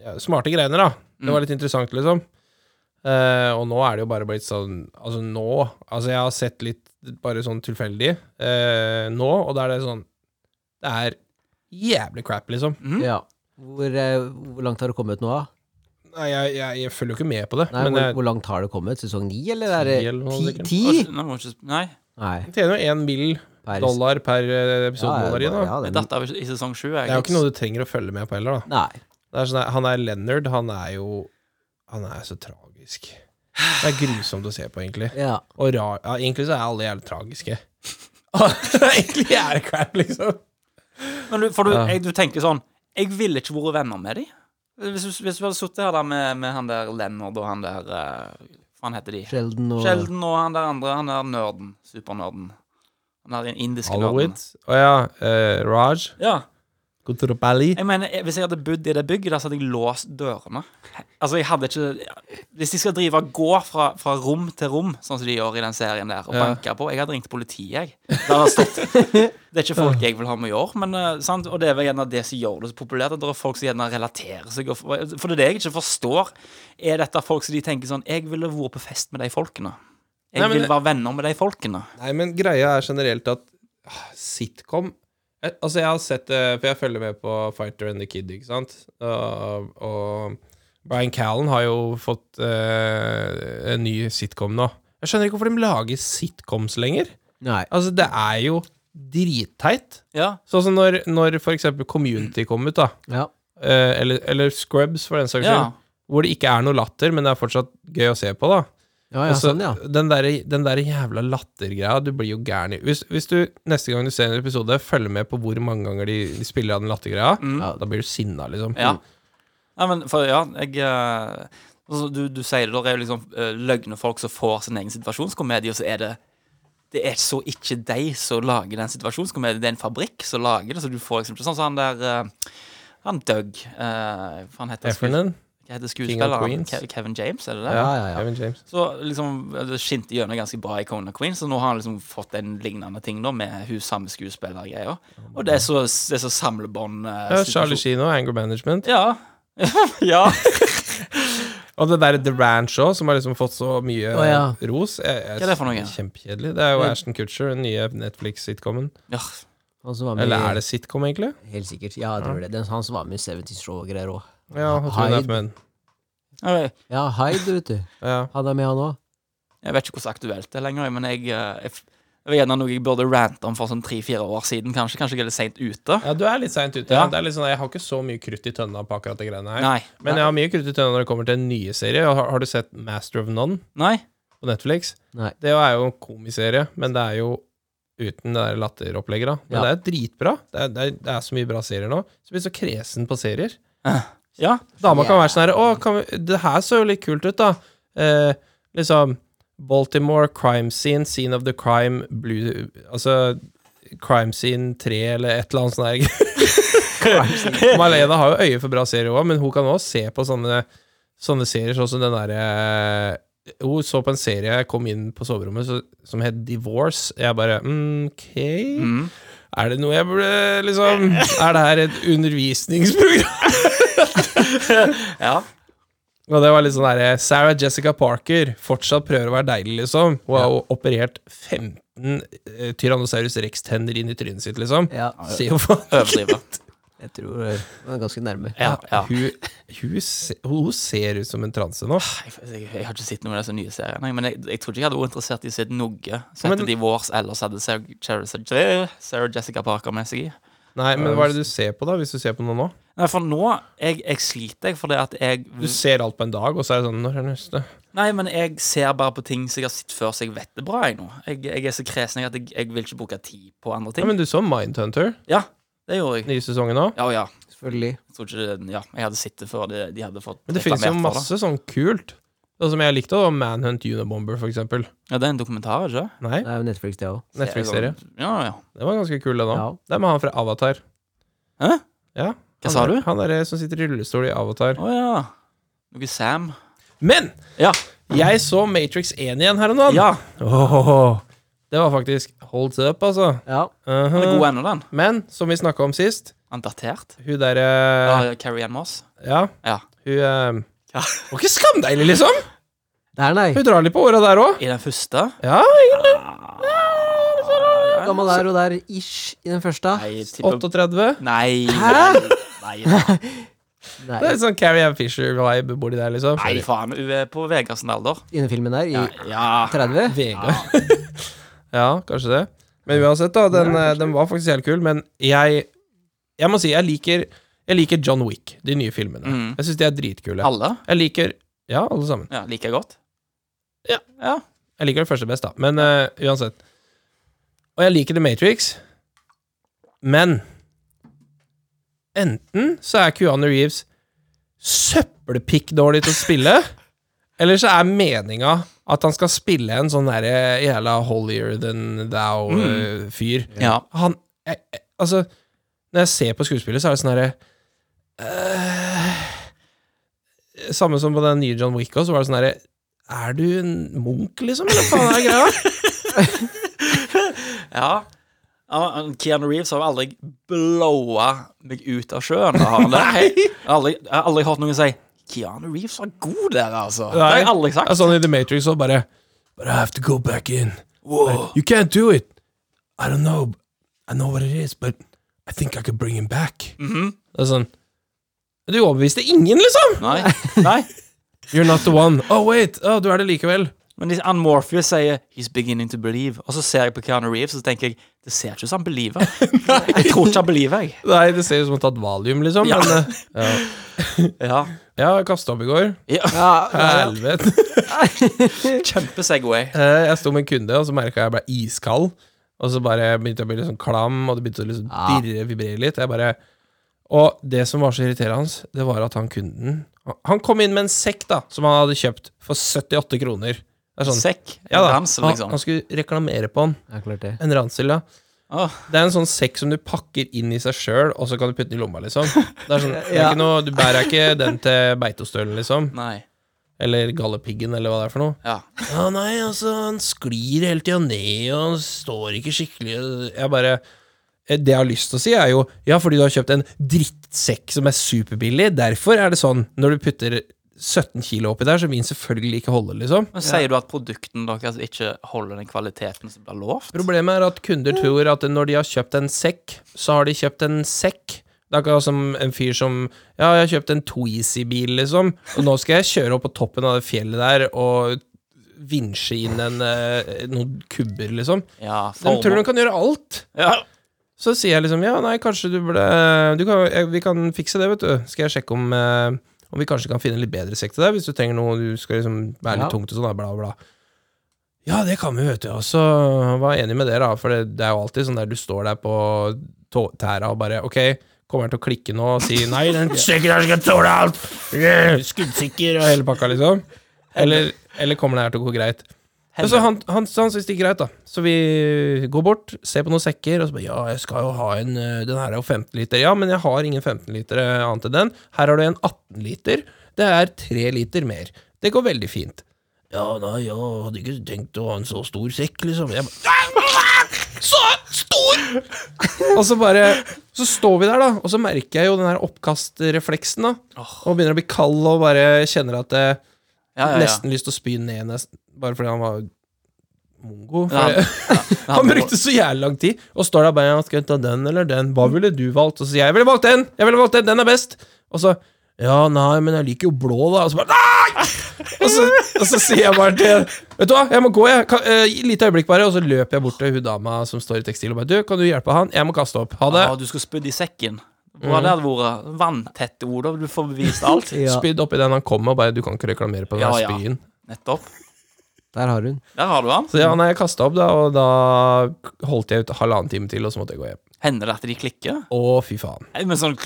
ja, smarte greiene, da. Det var litt interessant, liksom. Eh, og nå er det jo bare blitt sånn Altså nå Altså jeg har sett litt bare sånn tilfeldig eh, nå, og da er det sånn Det er jævlig crap, liksom.
Mm. Ja. Hvor, eh, hvor langt har det kommet nå, da?
Nei, jeg, jeg, jeg følger jo ikke med på det.
Nei,
men
hvor,
jeg
hvor langt har det kommet? Sesong ni, eller er det
Ti eller noe
ti?
sikkert.
ti?
Nå må jeg ikke Nei.
Nei.
tjener jo én mill.
Per-
dollar per eh, episode.
Ja, ja,
dollar i, da.
ja,
Jeg
det-
datt av i i sesong sju.
det er jo ikke noe du trenger å følge med på heller, da.
Nei.
Det er sånn, han er Leonard, han er jo Han er så tragisk. Det er grusomt å se på, egentlig.
Ja.
Og rar, ja, egentlig så er alle jævlig tragiske. egentlig er det crap, liksom.
Men du, for du,
Ja.
jeg, du tenker sånn Jeg ville ikke vært venner med dem. Hvis, du- hvis du hadde sittet her da med, med han der Leonard og han der eh, Hva han heter de?
Sheldon og-
Sheldon og han der andre. Han der nerden. Supernerden. Han der indiske nerden.
Hallowitz. Å ja. eh, Raj.
Ja.
Kutropali.
Jeg mener, jeg- Hvis jeg hadde bodd i det bygget der, så hadde jeg låst dørene. Altså, jeg hadde ikke Hvis de skal drive og gå fra, fra rom til rom, sånn som de gjør i den serien der, og
Ja.
banke på Jeg hadde ringt politiet, jeg. Det, hadde stått. det er ikke folk jeg vil ha med i år, men eh, sant? Og det er vel gjerne det som gjør det så populært, at det er folk som gjerne relaterer seg og, For det er det jeg ikke forstår, er dette folk som de tenker sånn Jeg ville vært på fest med de folkene. Jeg
Nei, men-
vil være venner med de folkene.
Nei, men greia er generelt at ah, Sitcom Eh, Altså, jeg har sett det, for jeg følger med på Fighter and the Kid, ikke sant? Og, og Brian Callen har jo fått eh, en ny sitcom nå. Jeg skjønner ikke hvorfor de lager sitcoms lenger.
Nei.
Altså, det er jo dritteit. Sånn som når, når for eksempel Community kom ut, da. Eh, eller, eller Scrubs, for den saks skyld.
Ja.
Hvor det ikke er noe latter, men det er fortsatt gøy å se på, da.
Ja, ja,
Og så
sånn, ja.
Den der, den der jævla lattergreia, du blir jo gæren i hvis, hvis du neste gang du ser en episode, følger med på hvor mange ganger de, de spiller av den lattergreia, ja, da blir du sinna, liksom.
Mm. Ja. ja, men for, ja, jeg eh, altså, du, du sier det, det er jo liksom eh, løgnefolk som får sin egen situasjonskomedie, og så er det det er så ikke de som lager den situasjonskomedien, det er en fabrikk som lager det, så du får liksom ikke sånn som han der eh, Han Doug eh, hva han heter
Heffernan?
Hva
King
heter
of
skuespilleren?
Queens.
Ke- Kevin James, er det det?
Ja, ja, ja. Kevin James.
Så liksom, det skinte gjennom ganske bra i Conan Queen, så nå har han liksom fått en lignende ting da, med hun samme skuespillergreia. Og det er så, det er så samlebånd eh,
Oh, Ja,
situasjon-
Charlie Sheen og Anger Management.
Ja. ja.
Og det derre The Ranch òg, som har liksom fått så mye
Å, ja.
ros. Jeg, jeg,
Hva er det for noe?
Kjempekjedelig. Det er jo
Ja.
Ashton Kutcher, den nye Netflix-sitcomen.
Ja.
Han som var med
Eller
i-
er det sitcom, egentlig?
Helt sikkert. Ja, jeg tror det. Den, han som var med i 70 Show og greier òg.
Ja, jeg tror det er for menn.
Ja, Hyde, vet du. Han er med, han òg.
Jeg vet ikke hvordan aktuelt det er lenger, men jeg, eh, jeg, f- det var gjerne noe jeg burde rante om for sånn tre-fire år siden. Kanskje kanskje jeg er litt seint ute.
Ja, du er litt seint ute.
Ja.
Det er litt sånn, jeg har ikke så mye krutt i tønna på akkurat det greiene her.
Nei.
Men jeg har mye krutt i tønna når det kommer til en nye serie. Har, har du sett Master of None
Nei.
på Netflix?
Nei.
Det er jo en komiserie, men det er jo uten det der latteropplegget, da. Men
Ja.
det er dritbra. Det er, det, er, det er så mye bra serier nå. Så jeg blir så kresen på serier.
Ja.
Dama kan være sånn her Å, kan vi, det her så jo litt kult ut, da. Eh, liksom Baltimore crime scene, scene of the crime, blue Altså crime scene 3 eller et eller annet sånt der. Malena har jo øye for bra serier òg, men hun kan òg se på sånne, sånne serier, sånn som den derre hun så på en serie jeg kom inn på soverommet så, som het Divorce. Jeg bare mm, OK. Er det noe jeg burde liksom Er det her et undervisningsprogram?
ja.
Og det var litt sånn derre Sarah Jessica Parker fortsatt prøver å være deilig, liksom. Hun har jo operert 15 eh, Tyrannosaurus rex-tenner inn i trynet sitt, liksom. Se jo faen ikke
Overdriver.
ut.
Jeg tror eh, han er ganske nærme.
Hun, hun, se- hun ser ut som en transe nå.
Jeg, jeg har ikke sett noen av disse nye seriene, men jeg, jeg trodde ikke jeg hadde vært interessert i å se noe.
Men-
Sette Divorce, ellers hadde Sarah, Sarah, Sarah Jessica Parker med seg i.
Nei, men hva er det du ser på, da, hvis du ser på noe nå?
Nei, for nå Jeg, jeg sliter, jeg, fordi at jeg
Du ser alt på en dag, og så er det sånn Når er neste?
Nei, men jeg ser bare på ting som jeg har sett før, så jeg vet det bra, jeg nå. Jeg, jeg er så kresen jeg, at jeg, jeg vil ikke bruke tid på andre
Ja,
ting.
men du så Mindhunter?
Ja, det gjorde jeg.
Nye sesongen nå?
Ja, ja.
Selvfølgelig.
Jeg tror ikke det, ja, jeg hadde sett det før det, de hadde fått
Men det finnes jo
reklamert for
masse sånn kult. Det som jeg likte, var Manhunt Unabomber, for eksempel.
Ja, det er en dokumentar, ikke det?
Nei,
Det er jo Netflix, det òg.
Netflix-serie.
Ja, ja.
Den var ganske kul, den òg.
Ja.
Det er med han fra Avatar.
Hæ?
Ja.
Hva sa
han,
du?
er- Han derre som sitter i rullestol i Avatar.
Å ja. Noe Sam.
Men
Ja.
jeg så Matrix 1 igjen her om dagen.
Ja.
Åh, det var faktisk holds up, altså.
Ja.
Uh
Den er god ennå, den.
Men som vi snakka om sist,
Han datert.
hun eh, derre
Ja, Carrie Ann Moss.
Ja,
Ja.
hun eh,
Ja.
Var ikke skamdeilig, liksom!
Der, nei.
Hun drar litt på åra der òg.
I den første?
Ja, egentlig. sånn
Gammel der og der ish i den første.
Nei, jeg tipper-
38.
Nei.
Hæ?
Nei, nei,
Nei,
Det er litt sånn Carrie Ann Fisher-vibe borti der, liksom.
nei, faen. Hun er på Vegards alder.
I den filmen der, i
Ja.
30.
Vegard. ja, kanskje det. Men uansett, da. Den, eh, den var faktisk helt kul. Men jeg Jeg må si jeg liker Jeg liker John Wick, de nye filmene.
Mm.
Jeg syns de er dritkule.
Alle?
Jeg liker Ja, alle sammen.
Ja, Liker jeg godt.
Ja.
ja.
Jeg liker den første best, da. Men eh, uansett. Og jeg liker The Matrix, men enten så er Keanu Reeves søppelpikk-dårlig til å spille, eller så er meninga at han skal spille en sånn derre jævla holier than eh, thou-fyr.
Ja.
Han jeg, jeg, Altså, når jeg ser på skuespillet, så er det sånn herre eh, Samme som på den nye John Wick også, så var det sånn herre Er du en munk, liksom? Eller faen er greia?
Ja. Ja, men Keanu Reeves har jo aldri blowa meg ut av sjøen. da Har han det? Jeg har aldri, jeg har aldri hørt noen si 'Keanu Reeves var god der', altså. Det har jeg aldri
Det er
sagt.
sånn i The Matrix
Altså,
så bare But I have to go back in. You can't do it. I don't know. I know what it is, but I think I could bring him back. Det er sånn Du overbeviste ingen, liksom!
Nei. Nei.
You're not the one. Oh, wait! Oh, du er det likevel.
Men de- han Morpheus sier 'He's beginning to believe', og så ser jeg på Keanu Reeves, og så tenker jeg det ser ikke ut som han believer. jeg tror ikke han believer, jeg.
Nei, det ser ut som han har tatt valium, liksom.
Ja.
Men, eh,
ja.
ja. Jeg kasta opp i går.
Ja.
Helvete.
Kjempesegway.
Eh, Jeg sto med en kunde, og så merka jeg ble iskald. Og så bare begynte jeg å bli litt sånn klam, og det begynte å liksom dirre, vibrere litt. Jeg bare Og det som var så irriterende hans, det var at han kunden Han kom inn med en sekk da som han hadde kjøpt for 78 kroner. Det er sånn-
Sekk?
Ja, da.
En ransel, liksom?
han, han skulle reklamere på den.
Ja, klart det.
En ransel, ja. Det er en sånn sekk som du pakker inn i seg sjøl, og så kan du putte den i lomma, liksom. Det er sånn, det er
Ja.
ikke noe, du bærer ikke den til Beitostølen, liksom.
Nei.
Eller Galdhøpiggen, eller hva det er for noe.
Ja.
Ja, nei, altså, han sklir hele tida ned, og han står ikke skikkelig og Jeg bare eh, Det jeg har lyst til å si, er jo Ja, fordi du har kjøpt en drittsekk som er superbillig, derfor er det sånn når du putter 17 kilo oppi der, så vil den selvfølgelig ikke holde, liksom.
Men Sier du at produkten deres ikke holder den kvaliteten som blir lovt?
Problemet er at kunder tror at når de har kjøpt en sekk, så har de kjøpt en sekk. Det er akkurat som en fyr som Ja, jeg har kjøpt en Twizy-bil, liksom, og nå skal jeg kjøre opp på toppen av det fjellet der og vinsje inn en, eh, noen kubber, liksom.
Ja,
de tror de kan gjøre alt. Så sier jeg liksom Ja, nei, kanskje du burde du kan, jeg, Vi kan fikse det, vet du. Skal jeg sjekke om eh, Om vi kanskje kan finne en litt bedre sekk til deg, hvis du trenger noe du skal liksom være litt
Ja.
tungt og sånn, da, bla, bla. Ja, det kan vi, vet du. Og så var jeg enig med dere, da. For det, det er jo alltid sånn der du står der på tå- tæra og bare Ok, kommer han til å klikke nå og si nei, den sekken her skal tåle alt! Yeah, Skuddsikker og hele pakka, liksom. Eller, eller kommer det her til å gå greit?
Helvete.
Så han, han, så han syntes det gikk greit, da. Så vi går bort, ser på noen sekker, og så bare Ja, jeg skal jo ha en øh, Den her er jo 15 liter. Ja, men jeg har ingen 15 liter øh, annet enn den. Her har du en 18 liter. Det er 3 liter mer. Det går veldig fint. Ja, nei, jeg hadde ikke tenkt å ha en så stor sekk, liksom. Jeg ba, så stor! og så bare Så står vi der, da, og så merker jeg jo den her oppkastrefleksen, da. Og begynner å bli kald og bare kjenner at eh, jeg
Ja, ja, ja.
nesten lyst til å spy ned, nesten, bare fordi han var mongo.
Ja,
For-
han- ja,
han, brukte så jævlig lang tid, og står der bare Skal jeg ta den eller den? Hva ville du valgt? Og så sier jeg Jeg ville valgt den! Jeg ville valgt den! Den er best! Og så Ja, nei, men jeg liker jo blå, da. Og så bare Nei! Og så, og så sier jeg bare til Vet du hva, jeg må gå, jeg. Kan, eh, lite øyeblikk, bare. Og så løper jeg bort til hun dama som står i tekstil, og bare Du, kan du hjelpe han? Jeg må kaste opp. Ha det. Mm.
Ja, du skulle spydd i sekken. Hva det hadde vært? Vanntette ord, du får bevist alt.
Spydd oppi den han kom med, og bare Du kan ikke reklamere på den
Ja,
her
ja.
spyen.
Nettopp.
Der har hun.
Der har du han.
Så ja, nei, jeg kasta opp, da, og da holdt jeg ut halvannen time til, og så måtte jeg gå hjem.
Hender det at de klikker?
Å, fy faen.
Nei, Men sånn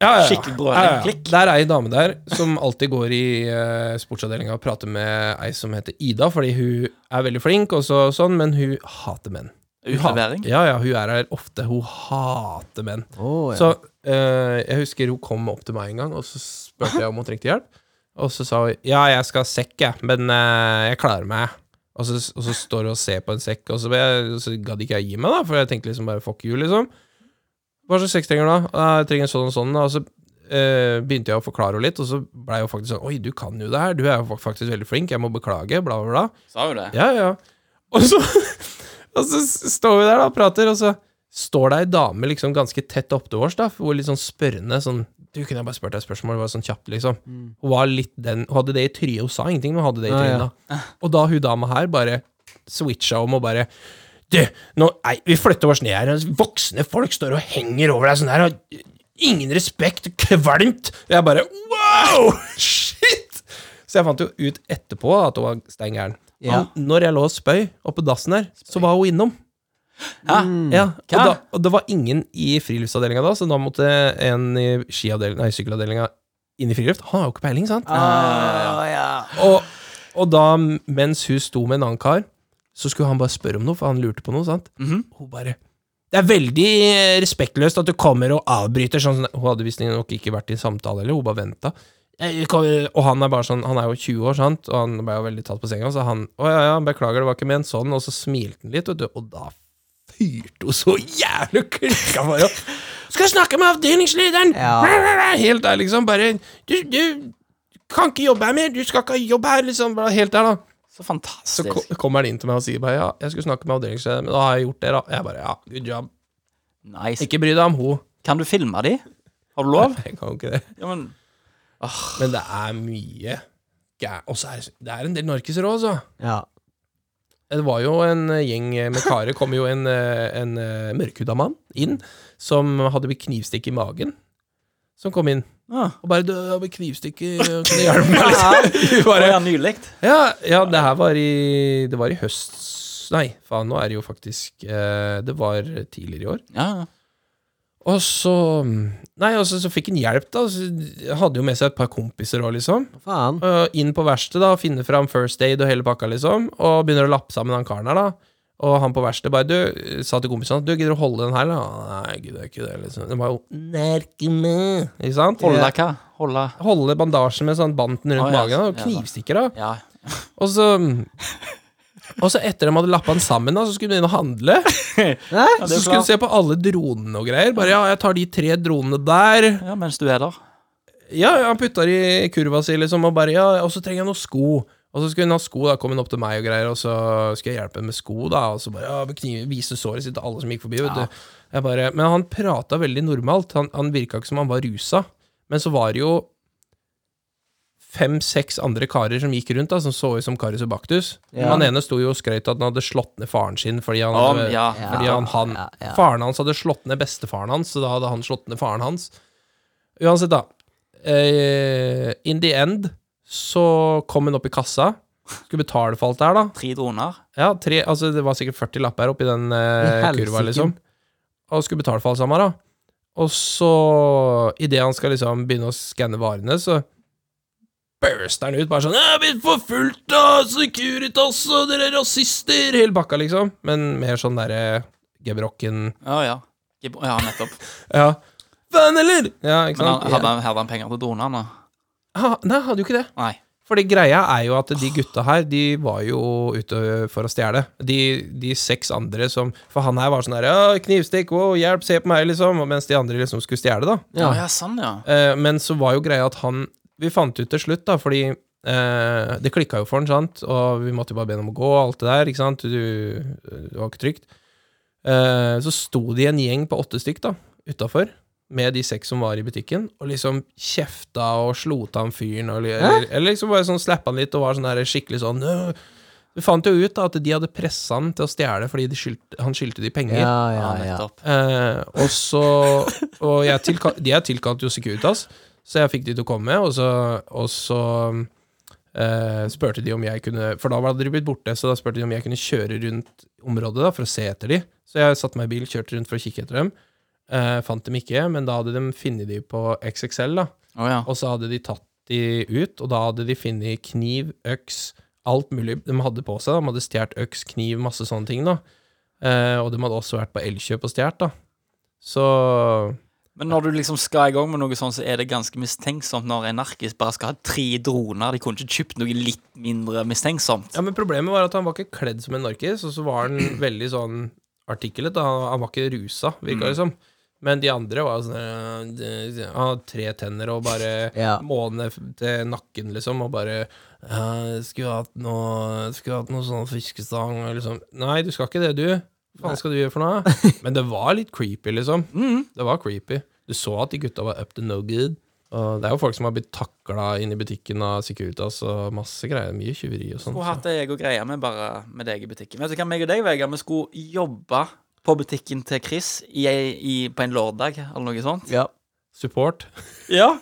Ja, ja, ja.
skikkelig brød
Ja, ja, ja.
klikk.
Der er ei dame der som alltid går i uh, sportsavdelinga og prater med ei som heter Ida, fordi hun er veldig flink, og så, sånn, men hun hater menn. Hun hat-
Utlevering?
Ja, ja, hun er her ofte. Hun hater menn.
Å, ja.
Så eh, jeg husker hun kom opp til meg en gang, og så spurte jeg om hun trengte hjelp. Og så sa hun ja, jeg skal ha sekk, jeg, men eh, jeg klarer meg. Og så, og så står hun og ser på en sekk, og så, ble jeg- så gadd ikke jeg gi meg, da, for jeg tenkte liksom bare fuck you, liksom. Hva slags sekk trenger du, da? «Ja, Jeg trenger en sånn og sånn. da.» Og så eh, begynte jeg å forklare henne litt, og så blei hun faktisk sånn Oi, du kan jo det her, du er jo faktisk veldig flink, jeg må beklage, bla, bla, bla.
Sa hun det?
Ja, ja. Og så, og så står vi der da og prater, og så står det ei dame liksom ganske tett opptil oss, da, hvor litt sånn spørrende sånn Du, kunne jeg bare spurt deg et spørsmål? Bare sånn kjapt, liksom. Hun var litt den Hun hadde det i trynet, hun sa ingenting, men hun hadde det i
Mm. Ja, ja.
trynet. da. Og da hun dama her bare switcha om og bare Du, nå, nei, vi flytter oss ned her. Voksne folk står og henger over deg sånn her. Og ingen respekt. Kvalmt. Jeg bare Wow! Shit! Så jeg fant jo ut etterpå at hun var stein gæren.
Ja.
Og Når jeg lå og spøy oppe på dassen her, så var hun innom.
Hæ?
Ja, og,
Hva?
da, og det var ingen i friluftsavdelinga da, så da måtte en i skiavdeling- nei, sykkelavdelinga inn i friluft. Han har jo ikke peiling, sant? Og, og da, mens hun sto med en annen kar, så skulle han bare spørre om noe, for han lurte på noe, sant?
Mhm.
Hun bare Det er veldig eh, respektløst at du kommer og avbryter sånn som det-» Hun hadde visstnok ikke vært i samtale heller, hun bare venta. Og han er bare sånn Han er jo 20 år, sant, og han ble jo veldig tatt på senga, så han Å ja, ja, beklager, det var ikke ment sånn, og så smilte han litt, vet du, og da fyrte hun så jævlig klikka bare opp. Skal snakke med avdelingslederen! Helt der, liksom. Bare Du, du kan ikke jobbe her mer! Du skal ikke jobbe her! Liksom. Bare Helt der, da.
Så
Så
fantastisk.
ko- kommer han inn til meg og sier bare ja, jeg skulle snakke med avdelingslederen, men da har jeg gjort det, da. Jeg bare ja, good job.
Nice.
Ikke bry deg om ho.
Kan du filme de? Har du lov?
Jeg kan jo ikke det.
Ja, men
Men det er mye gæ- Og så er det så- det er en del narkiser òg, altså.
Ja.
Det var jo en eh, gjeng med karer. kom jo en, eh, en eh, mørkhuda mann inn som hadde blitt knivstikk i magen. Som kom inn. Og bare 'Du har blitt knivstikket, kan du hjelpe meg?' liksom. Vi bare-
Å, ja, nylig.
Ja, ja, det her var i Det var i høst Nei, faen, nå er det jo faktisk eh, Det var tidligere i år. Og så Nei, og så, så fikk han hjelp, da. Så hadde jo med seg et par kompiser òg, liksom.
Faen.
Og inn på verkstedet, da, finne fram First Aid og hele pakka, liksom. Og begynner å lappe sammen han karen her, da. Og han på verkstedet bare du, sa til kompisene at du gidder å holde den her, da? Nei, gidder jeg ikke det, liksom. Det var jo Nerkeme. Ikke sant?
Holde hva? Holde
Holde bandasjen med sånn banten rundt
Å, ja.
magen, da, og
Ja,
knivstikker, da.
Ja.
Og så Og så etter de hadde lappa den sammen, da, så skulle de inn og handle.
det
så
er
skulle
klart.
de se på alle dronene og greier. Bare ja, jeg tar de tre dronene der.
Ja, mens du er der.
Ja, han putta de i kurva si, liksom, og bare ja, og så trenger jeg noen sko. Og så skulle hun ha sko, da kom hun opp til meg og greier, og så skulle jeg hjelpe henne med sko, da, og så bare ja, med kniv, vise såret sitt til alle som gikk forbi, vet du. Jeg bare, men han prata veldig normalt, han, han virka ikke som han var rusa, men så var det jo fem-seks andre karer som gikk rundt, da, som så ut som Karius og Baktus.
Ja.
Han ene sto jo og skrøt at han hadde slått ned faren sin fordi han,
Om,
hadde,
ja.
fordi
Ja,
han, han Faren hans hadde slått ned bestefaren hans, så da hadde han slått ned faren hans. Uansett, da. eh, in the end så kom hun opp i kassa. Skulle betale for alt det her, da.
Tre droner.
Ja, tre, altså Det var sikkert 40 lapper oppi den eh,
I helsike.
kurva, liksom. Og skulle betale for alt sammen, da. Og så, idet han skal liksom begynne å skanne varene, så burster han ut bare sånn 'Jeg er blitt forfulgt av Securitas, og dere er rasister!' Hele bakka, liksom. Men mer sånn derre gebrokken
Ja, ja. Gib- Ja, nettopp.
Ja. Faen, eller? Ja, ikke
Men
sant?
han, hadde, han, hadde han penger til dronene?
Ah, nei, hadde jo ikke det.
Nei.
Fordi greia er jo at de gutta her, de var jo ute for å stjele. De, de seks andre som For han her var sånn her ja, 'Knivstikk, wow, hjelp, se på meg', liksom. og Mens de andre liksom skulle stjele, da.
Ja, ja, sånn, ja.
Eh, men så var jo greia at han Vi fant ut til slutt, da, fordi eh, det klikka jo for han, sant, og vi måtte jo bare be ham om å gå, og alt det der, ikke sant, du, det var ikke trygt. Eh, så sto de en gjeng på åtte stykk, da, utafor, med de seks som var i butikken, og liksom kjefta og slo til han fyren, og, li- eller, eller liksom bare sånn slappa han litt og var sånn der skikkelig sånn «Nå». Vi fant jo ut da at de hadde pressa han til å stjele fordi de skyldte, han skyldte de penger.
Ja, ja, Ja, ja. nettopp.
Eh, og så Og jeg tilka, de jeg tilkalte jo Securitas, så jeg fikk de til å komme, og så, og så eh, spurte de om jeg kunne For da hadde de blitt borte, så da spurte de om jeg kunne kjøre rundt området da, for å se etter de. Så jeg satte meg i bil, kjørte rundt for å kikke etter dem. Eh, fant dem ikke, men da hadde de funnet de på XXL, da. Og så hadde de tatt de ut, og da hadde de funnet kniv, øks, alt mulig de hadde på seg. da. De hadde stjålet øks, kniv, masse sånne ting, da. Eh, og de hadde også vært på Elkjøp og stjålet, da. Så
Men når du liksom skal i gang med noe sånt, så er det ganske mistenksomt når en narkis bare skal ha tre droner. De kunne ikke kjøpt noe litt mindre mistenksomt.
Ja, men problemet var at han var ikke kledd som en narkis, og så var han veldig sånn artiklet. da. Han, han var ikke rusa, virka det
Mm.
som. Men de andre var jo sånn øh, de- de- Han hadde tre tenner og bare
Ja.
måne f- til nakken, liksom, og bare øh, 'Skulle hatt noe Skulle hatt noe sånn fiskestang', og liksom. Nei, du skal ikke det, du. Hva faen skal du gjøre for noe? Men det var litt creepy, liksom. Det var creepy. Du så at de gutta var up to no good. Og det er jo folk som har blitt takla inn i butikken av Securitas og masse greier. Mye tyveri og sånn.
Skulle hatt det jeg og greia med bare med deg i butikken. Vet du hva, meg og deg, Vegard, vi skulle jobbe på butikken til Chris i, i, på en lørdag eller noe sånt.
Ja.
Support.
Ja.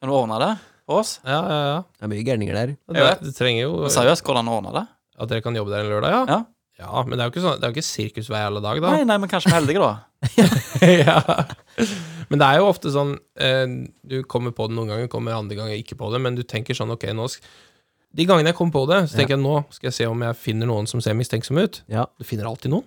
Kan du ordne det for oss?
Ja, ja, ja.
Det er mye gærninger der.
Jeg vet, det trenger jo
Men seriøst, hvordan ordner det?
At dere kan jobbe der en lørdag, ja?
Ja.
men det er jo ikke, sånn, det er jo ikke sirkus hver jævla dag, da.
Nei, nei, men kanskje vi er heldige, da.
ja. Men det er jo ofte sånn eh, Du kommer på det noen ganger, kommer andre ganger ikke på det, men du tenker sånn Ok, nå sk De gangene jeg kommer på det, så tenker jeg nå skal jeg se om jeg finner noen som ser mistenksom ut.
Ja.
Du finner alltid noen.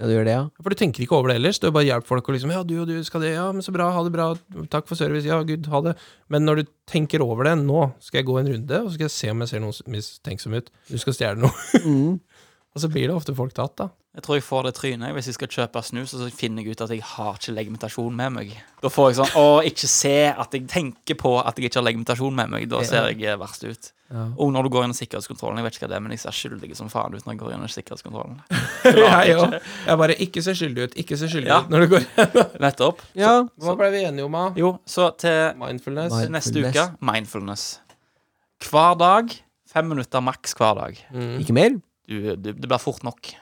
Ja, du gjør det, ja.
For du tenker ikke over det ellers. Du bare hjelper folk og liksom Ja, du og du skal det. Ja, men så bra. Ha det bra. Takk for service. Ja, gud, ha det. Men når du tenker over det Nå skal jeg gå en runde, og så skal jeg se om jeg ser noen som mistenksom ut. Du skal stjele noe. og så blir det ofte folk tatt, da.
Jeg tror jeg får det trynet jeg, hvis jeg skal kjøpe snus, og så finner jeg ut at jeg har ikke legimentasjon med meg. Da får jeg sånn Å, ikke se at jeg tenker på at jeg ikke har legimentasjon med meg. Da ser jeg eh, verst ut. Ja. Og når du går gjennom sikkerhetskontrollen. Jeg vet ikke hva det er, men jeg ser skyldig som faen ut når jeg går gjennom sikkerhetskontrollen.
Jeg òg. Jeg bare Ikke se skyldig ut, ikke se skyldig ut når du går
Nettopp.
Ja, Hva ble vi enige om, da?
Jo, så til
mindfulness.
til neste uke mindfulness. Hver dag. Fem minutter maks hver dag.
Mm.
Ikke mer?
Du, du, det blir fort nok.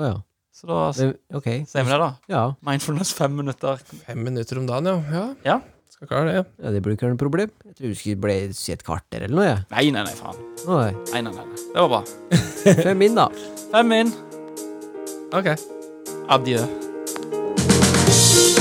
Å ja.
Så da s-
Men, ok.
sier vi det, da.
Ja.
Mindfulness fem minutter.
Fem minutter om dagen, ja. ja.
Ja.
Skal klare det.
ja, det burde ikke være noe problem. Jeg tror det skulle bli si et kvarter eller noe, jeg.
Nei, nei, nei, faen.
Oi.
Nei, nei, nei. nei. Det var bra.
Fem inn, da.
Fem inn.
Ok.
Adjø.
Thank you.